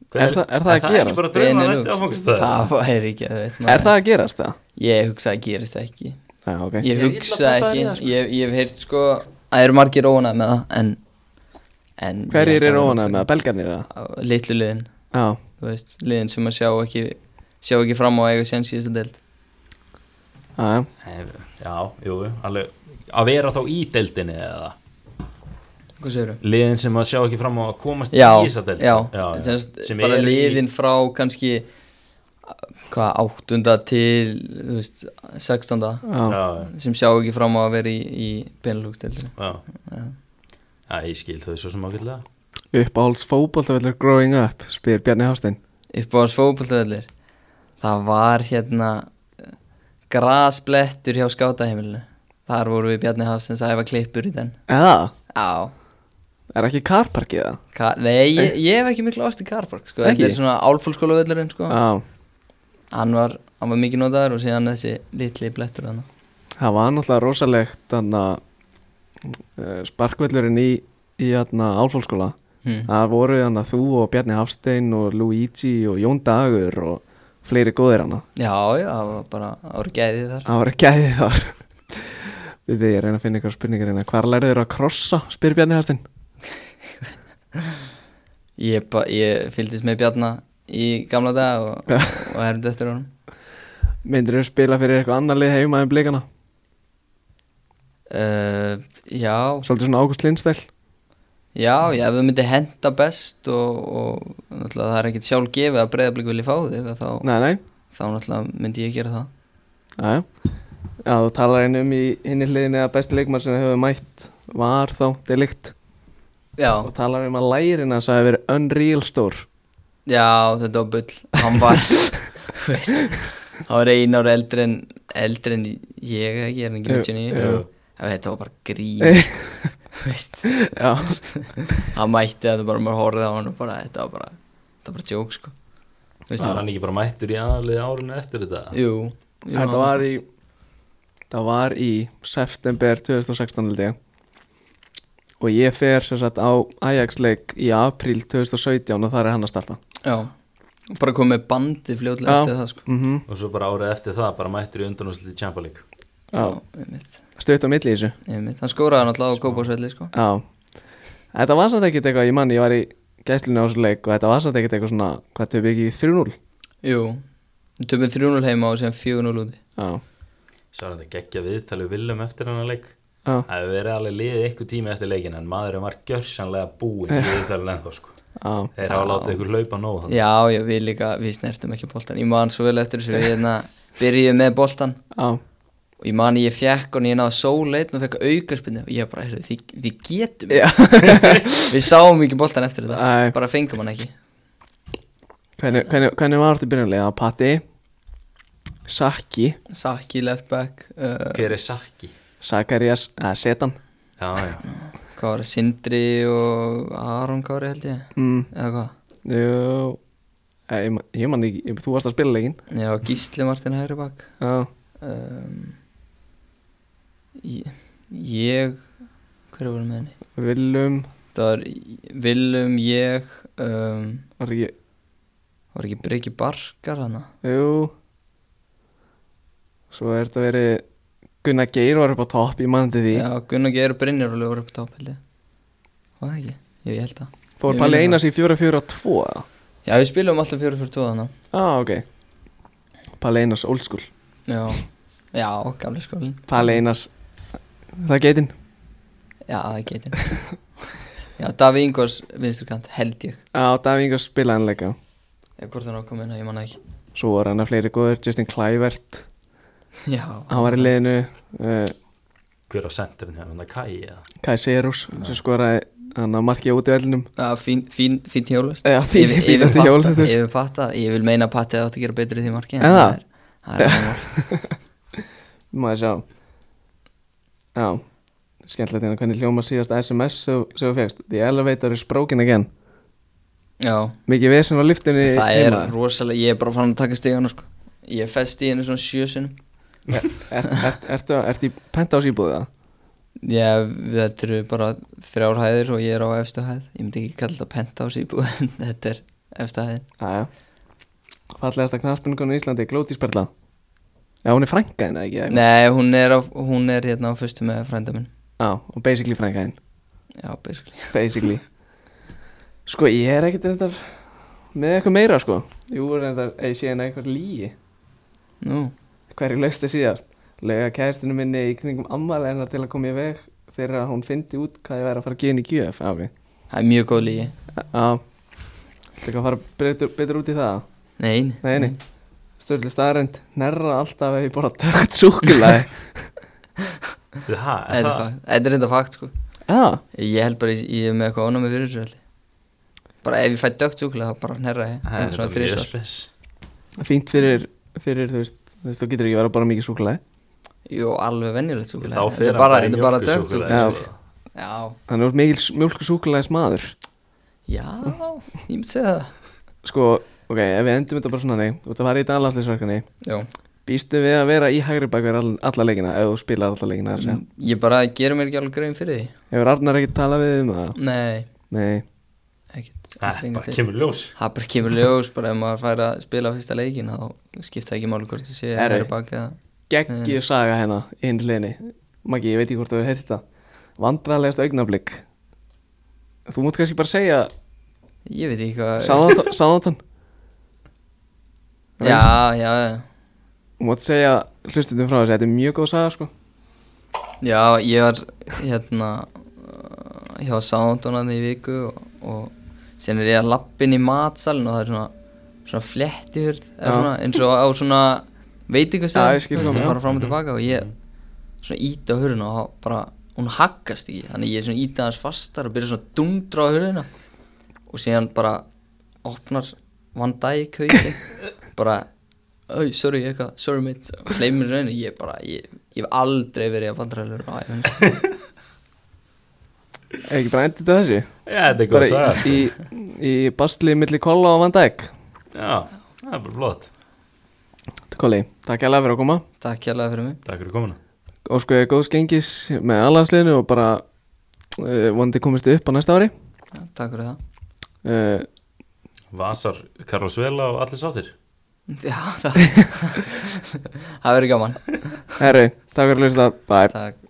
Speaker 2: Hver-
Speaker 1: Er það- er það að
Speaker 2: Er það
Speaker 1: gerast?
Speaker 2: ekki bara drauma
Speaker 4: Benelux.
Speaker 2: næstu áfangstæð
Speaker 4: Það væri ekki að veit
Speaker 1: Er það að gerast það?
Speaker 4: Ég hugsa að gerist það ekki
Speaker 1: Já, ok
Speaker 4: Ég
Speaker 2: Ég er
Speaker 4: hugsa
Speaker 2: illa peppaður
Speaker 4: ekki
Speaker 2: í það, sko.
Speaker 4: Ég ég hef heyrt sko að eru margir óanað með það En, en ég held
Speaker 1: Hverjir
Speaker 4: að
Speaker 1: eru
Speaker 4: það
Speaker 1: ónað með það? Belgarnir eða?
Speaker 4: á Litlu liðin
Speaker 1: Já
Speaker 4: Þú veist, liðin sem að sjá ekki Sjá ekki fram á að eiga séns í þessu deild
Speaker 1: Já, já
Speaker 2: Já, jú, jú, alveg Að vera þá í deildinni eða
Speaker 4: Hvað segir þú?
Speaker 2: Liðin sem að sjá ekki fram á að komast
Speaker 4: Já,
Speaker 2: í þessa deild
Speaker 4: já,
Speaker 2: já.
Speaker 4: Semst,
Speaker 2: Sem
Speaker 4: Bara
Speaker 2: eru í-
Speaker 4: liðin frá kannski Hvað, áttunda til Þú veist, sextunda
Speaker 1: Já,
Speaker 2: Já, já,
Speaker 4: Sem sjá ekki fram á að vera í, í Benelux-deildinu
Speaker 2: já Já, ég skil þau svo sem ágætlega
Speaker 1: uppáhalds fótboltavellur growing up spyr Bjarni Hástein
Speaker 4: uppáhalds fókbaltavellir það var hérna eh, grasblettur hjá skátaheimilinu þar voru við Bjarni Hafsins að hefa klippur í den
Speaker 1: Eða,
Speaker 4: á,
Speaker 1: er ekki karparkið það?
Speaker 4: ka- nei ég, ég hef ekki miklu ást í Karpark sko,
Speaker 1: Ekki?
Speaker 4: þetta er svona álfólkskóla völlurinn sko.
Speaker 1: Já,
Speaker 4: hann, var, hann var mikið notaður og síðan þessi litli blettur hann
Speaker 1: það var náttúrulega rosalegt þannig sparkvellurinn í, í hérna, þarna álfólkskóla
Speaker 4: hm.
Speaker 1: það voru þannig þú og Bjarni Hafstein og Luigi og Jón Dagur og fleiri góðir hana
Speaker 4: já, já, það var bara ári gæðið þar
Speaker 1: það voru gæði þar við því ég reyna að finna ykkur spurningar hérna hvar lærður að krossa, spyr Bjarni Hafstein
Speaker 4: ég, ba- ég fylgdist með Bjarni í gamla dag og, og herfndi eftir honum
Speaker 1: myndir þau spila fyrir eitthvað annar lið heima en blikana
Speaker 4: uh, já,
Speaker 1: svolítið svona Ágúst Lindstæl
Speaker 4: Já, já, ef þau myndi henda best og, og náttúrulega það er ekkit sjálf gefið að breyðablík vilji fá þig þá,
Speaker 1: nei, nei,
Speaker 4: þá náttúrulega myndi ég gera það
Speaker 1: aðja Já, þú talar einu um í hinni hliðinni að besti leikmann sem hefur mætt var þá delikt og
Speaker 4: Já,
Speaker 1: talar um að lærin hans hafi verið unreal stór
Speaker 4: já, þetta var bull Hann var, þú veist hann var einu ára eldri en eldri en ég, ekki, er hann ekki
Speaker 1: Jú,
Speaker 4: 99
Speaker 1: jú.
Speaker 4: Já, þetta var bara grín Þú veist,
Speaker 1: Já,
Speaker 4: hann mætti að það bara maður horfði á hann og bara, þetta var bara þetta var bara joke, sko Þú veist,
Speaker 2: Var hann ekki bara mættur í aðalið árinu eftir þetta?
Speaker 4: Jú, jú
Speaker 1: Ah. þetta var í það var í september 2016 held ég og ég fer sem sagt á Ajax leik í apríl 2017 og þar er hann að starta
Speaker 4: já Og bara komið með bandi fljótlega
Speaker 1: Já.
Speaker 4: eftir það sko
Speaker 1: mm -hmm.
Speaker 2: og svo bara árið eftir það bara mættur í undanúslið í Champions League
Speaker 1: Já.
Speaker 4: einmitt,
Speaker 1: stutt á milli í þessu
Speaker 4: einmitt Hann skóraði náttúrulega á kópásvelli sko
Speaker 1: Já, þetta var samt ekkert eitthvað ég manni, ég var í gæslunni á þessu leik og þetta var samt ekkert eitthvað svona, hvað töfum ekki 3-0
Speaker 4: Jú, við tökum 3-0 heima og sem 4-0 úti
Speaker 1: Já,
Speaker 2: Sá hann þetta geggja viðtalið Willum eftir hann að leik
Speaker 1: já,
Speaker 2: Það hefur verið alveg liðið eitthvað tíma eftir leikin en maðurinn var gjörsanlega búinn í viðtalið ennþá sko
Speaker 1: já
Speaker 2: Þeir hafa látið ykkur hlaupa nóg þannig
Speaker 4: Já, já, við líka, við snertum ekki boltan Ég man svo vel eftir þessu Við hérna byrjuðum með boltan
Speaker 1: Já,
Speaker 4: Og ég man ég fjekk og ég náði sóleitn og fekk aukarspinni Og ég bara, heyrðu, við, við getum
Speaker 1: Já.
Speaker 4: Við sáum ekki boltan eftir þetta
Speaker 1: Æ.
Speaker 4: Bara fengum hann ekki
Speaker 1: hvernig, hvernig, hvernig var þetta byrjanlega? Patti, Saki,
Speaker 4: Saki left back uh,
Speaker 2: Hver er Saki?
Speaker 1: Sakarias, eða Setan
Speaker 2: Já, já,
Speaker 4: Hvað var það, Sindri og Aron Kári held ég
Speaker 1: mm,
Speaker 4: Eða hvað
Speaker 1: Jú, eh, ég, man- ég manni, ekki, þú varst að spila leikin
Speaker 4: Já, Gísli Martin hægri bak
Speaker 1: Já,
Speaker 4: um, ég, ég Hver var með henni?
Speaker 1: Willum,
Speaker 4: Það var Willum, ég um,
Speaker 1: var ekki,
Speaker 4: Var ekki Breki Barkar hana?
Speaker 1: jú Svo er þetta verið Gunnar Geir var upp á topp, ég manni því
Speaker 4: Já, Gunnar Geir og Brynjar alveg voru upp á topp held ég Var það ekki? Jú, ég held það
Speaker 1: Fór
Speaker 4: Ég
Speaker 1: Palli
Speaker 4: minni
Speaker 1: Einars í 4-4-2 eða?
Speaker 4: Já, við spilum alltaf 4-4-2 hana
Speaker 1: Já, ah, ok Palli Einars old school
Speaker 4: Já, já, gamli skólin
Speaker 1: Palli Einars Það er geitinn
Speaker 4: Já, það getur Já, Daví Ingvars vinsturkant, held ég
Speaker 1: Já, Davinga spilaði hann leika
Speaker 4: Eða hvort hann á komið inn, ég manna ekki
Speaker 1: Svo voru hann að fleiri góður Justin Kluivert
Speaker 4: Já,
Speaker 1: Hann var í liðinu uh,
Speaker 2: hver á sendirinn hefur hann að kæi eða?
Speaker 1: Kai Serus sem skoraði hann að markið út í vellinum
Speaker 4: Já, fín, fín, fín hjólvist
Speaker 1: Já, fín- fínasti hjólvestur.
Speaker 4: Ég vil patta, ég vil meina að patti að það átti að gera betri í því marki
Speaker 1: En það?
Speaker 4: er, það er annað mál.
Speaker 1: Maður sjá Já Skemmtilegt hérna hvernig hljóma síðast SMS sem sem þú fegst The elevator is broken again
Speaker 4: Já,
Speaker 1: Mikið vesen á lyftunni
Speaker 4: það er
Speaker 1: heima.
Speaker 4: rosalega, ég er bara fann að taka stíðan sko. Ég festi í henni svona sjö sinnum
Speaker 1: er, er, er, Ertu ertu í penthouse íbúðið það?
Speaker 4: Já, þetta eru bara þrjár hæðir og ég er á efstu hæð Ég myndi ekki kalla þetta penthouse íbúð en þetta er efstu hæðin
Speaker 1: Jæja Fallegasta knarspenningun í Íslandi, Glóti Sperla Já, hún er frænka henni, ekki?
Speaker 4: Nei, hún er, á, hún er hérna á fyrstu með frænda minn
Speaker 1: Já, og basically frænka henni
Speaker 4: Já, basically
Speaker 1: Basically Sko, ég er ekkert reyndar með eitthvað meira, sko Jú, reyndar, eða ég sé henni eitthvað lígi
Speaker 4: Nú,
Speaker 1: Hverju lausti síðast? Lega kæristinu minni í kringum ammali hennar til að koma í veg fyrir að hún fyndi út hvað ég væri að fara að geða inn í gjöf, já, ok
Speaker 4: það er mjög góð lígi
Speaker 1: Já Þetta ekki að fara betur, betur út í það?
Speaker 4: Nein
Speaker 1: Nei, nei Störli staðarend, nerra alltaf ef ég borða tökkt súkulega
Speaker 2: Það,
Speaker 4: Þetta er fakt- þetta er reynda fakt sko
Speaker 1: Já,
Speaker 4: Ég held bara, ég- ég er með eitthvað ónæmi fyrir þessu held ég. Bara ef ég fætt dögt sjúkla þá bara hnerra ég
Speaker 2: það er
Speaker 4: Svona
Speaker 2: þetta mjög
Speaker 4: þrisvar.
Speaker 2: spes
Speaker 1: fínt fyrir, fyrir þú veist, þú veist, þú getur ekki verið bara mikið súkulæði
Speaker 4: Jú, alveg venjulegt sjúkla
Speaker 2: Þá fer hann
Speaker 4: bara,
Speaker 2: bara í sko.
Speaker 4: þetta er bara dögt
Speaker 2: mjölkusúkulega
Speaker 4: sjúkla
Speaker 1: súkkulaði.
Speaker 4: Já,
Speaker 1: Þannig að þú ert mikil mjölku súkulæðis maður
Speaker 4: já, ég myndi segja það
Speaker 1: Sko, ok, ef við endum þetta bara svona nei Þú ert að fara í dalaslisverkani
Speaker 4: Já
Speaker 1: Býstu við að vera í hægri bakver all, alla leikina Ef þú spilar alla leikina þar sem
Speaker 4: Ég bara gera mér ekki alveg grein fyrir því
Speaker 1: Hefur Arnar ekki talað við um það?
Speaker 4: Nei,
Speaker 1: Nei,
Speaker 4: ekkert
Speaker 2: Það
Speaker 4: ekkert
Speaker 2: bara
Speaker 4: til.
Speaker 2: kemur ljós
Speaker 4: Það bara kemur ljós bara ef maður fær að spila fyrsta leikin þá skipta ekki máli hvort það sé
Speaker 1: Herri.
Speaker 4: hægri bak eða
Speaker 1: geggjur saga hennar í Hinn hliðinni Maggi, ég veit ekki hvort þú hefur heyrt þetta Vandralegast augnablík Þú mútt kannski bara segja
Speaker 4: ég veit ekki hvað
Speaker 1: Sáðantan
Speaker 4: Já, já, já
Speaker 1: Þú mútt segja hlustundum frá þessi Þetta er mjög góð saga, sko
Speaker 4: Já, ég var hérna uh, hjá Soundonandi í viku og, og sen er ég að lappin í matsalin og það er svona svona flettihurð eða
Speaker 1: Já.
Speaker 4: svona, eins og á svona
Speaker 1: Já,
Speaker 4: veitingastæð
Speaker 1: ég skil
Speaker 4: það
Speaker 1: hvað-
Speaker 4: fara fram og tilbaka og ég svona íti á hurðina og þá bara hún haggast ekki þannig ég svona íti aðeins fastar og byrja svona að dundra á hurðina og síðan bara opnar Van Dijk hauki bara Æ, sorry, eitthvað, sorry mate og hleypir mér svo einu, ég bara, ég, ég hef aldrei verið að vandræðilegur á æfinni sko.
Speaker 1: Er ekki bara endið þetta þessu?
Speaker 2: Já, þetta er góð
Speaker 1: bara
Speaker 2: saga
Speaker 1: í, í, í bastli milli Kolla og Van Dijk
Speaker 2: Já, það er bara flott
Speaker 1: Kolli, takk hérlega fyrir að koma
Speaker 4: Takk hérlega fyrir mig
Speaker 2: Takk fyrir komuna
Speaker 1: Óskuðu góðs gengis með allansliðinu og bara uh, vonandi komist upp á næsta ári
Speaker 4: Já, Takk fyrir það
Speaker 1: uh,
Speaker 2: Vasar, Carlos Vela og allir sáttir
Speaker 4: Já, það Það verður gaman
Speaker 1: Herru, takk fyrir að hlusta, bye
Speaker 4: Takk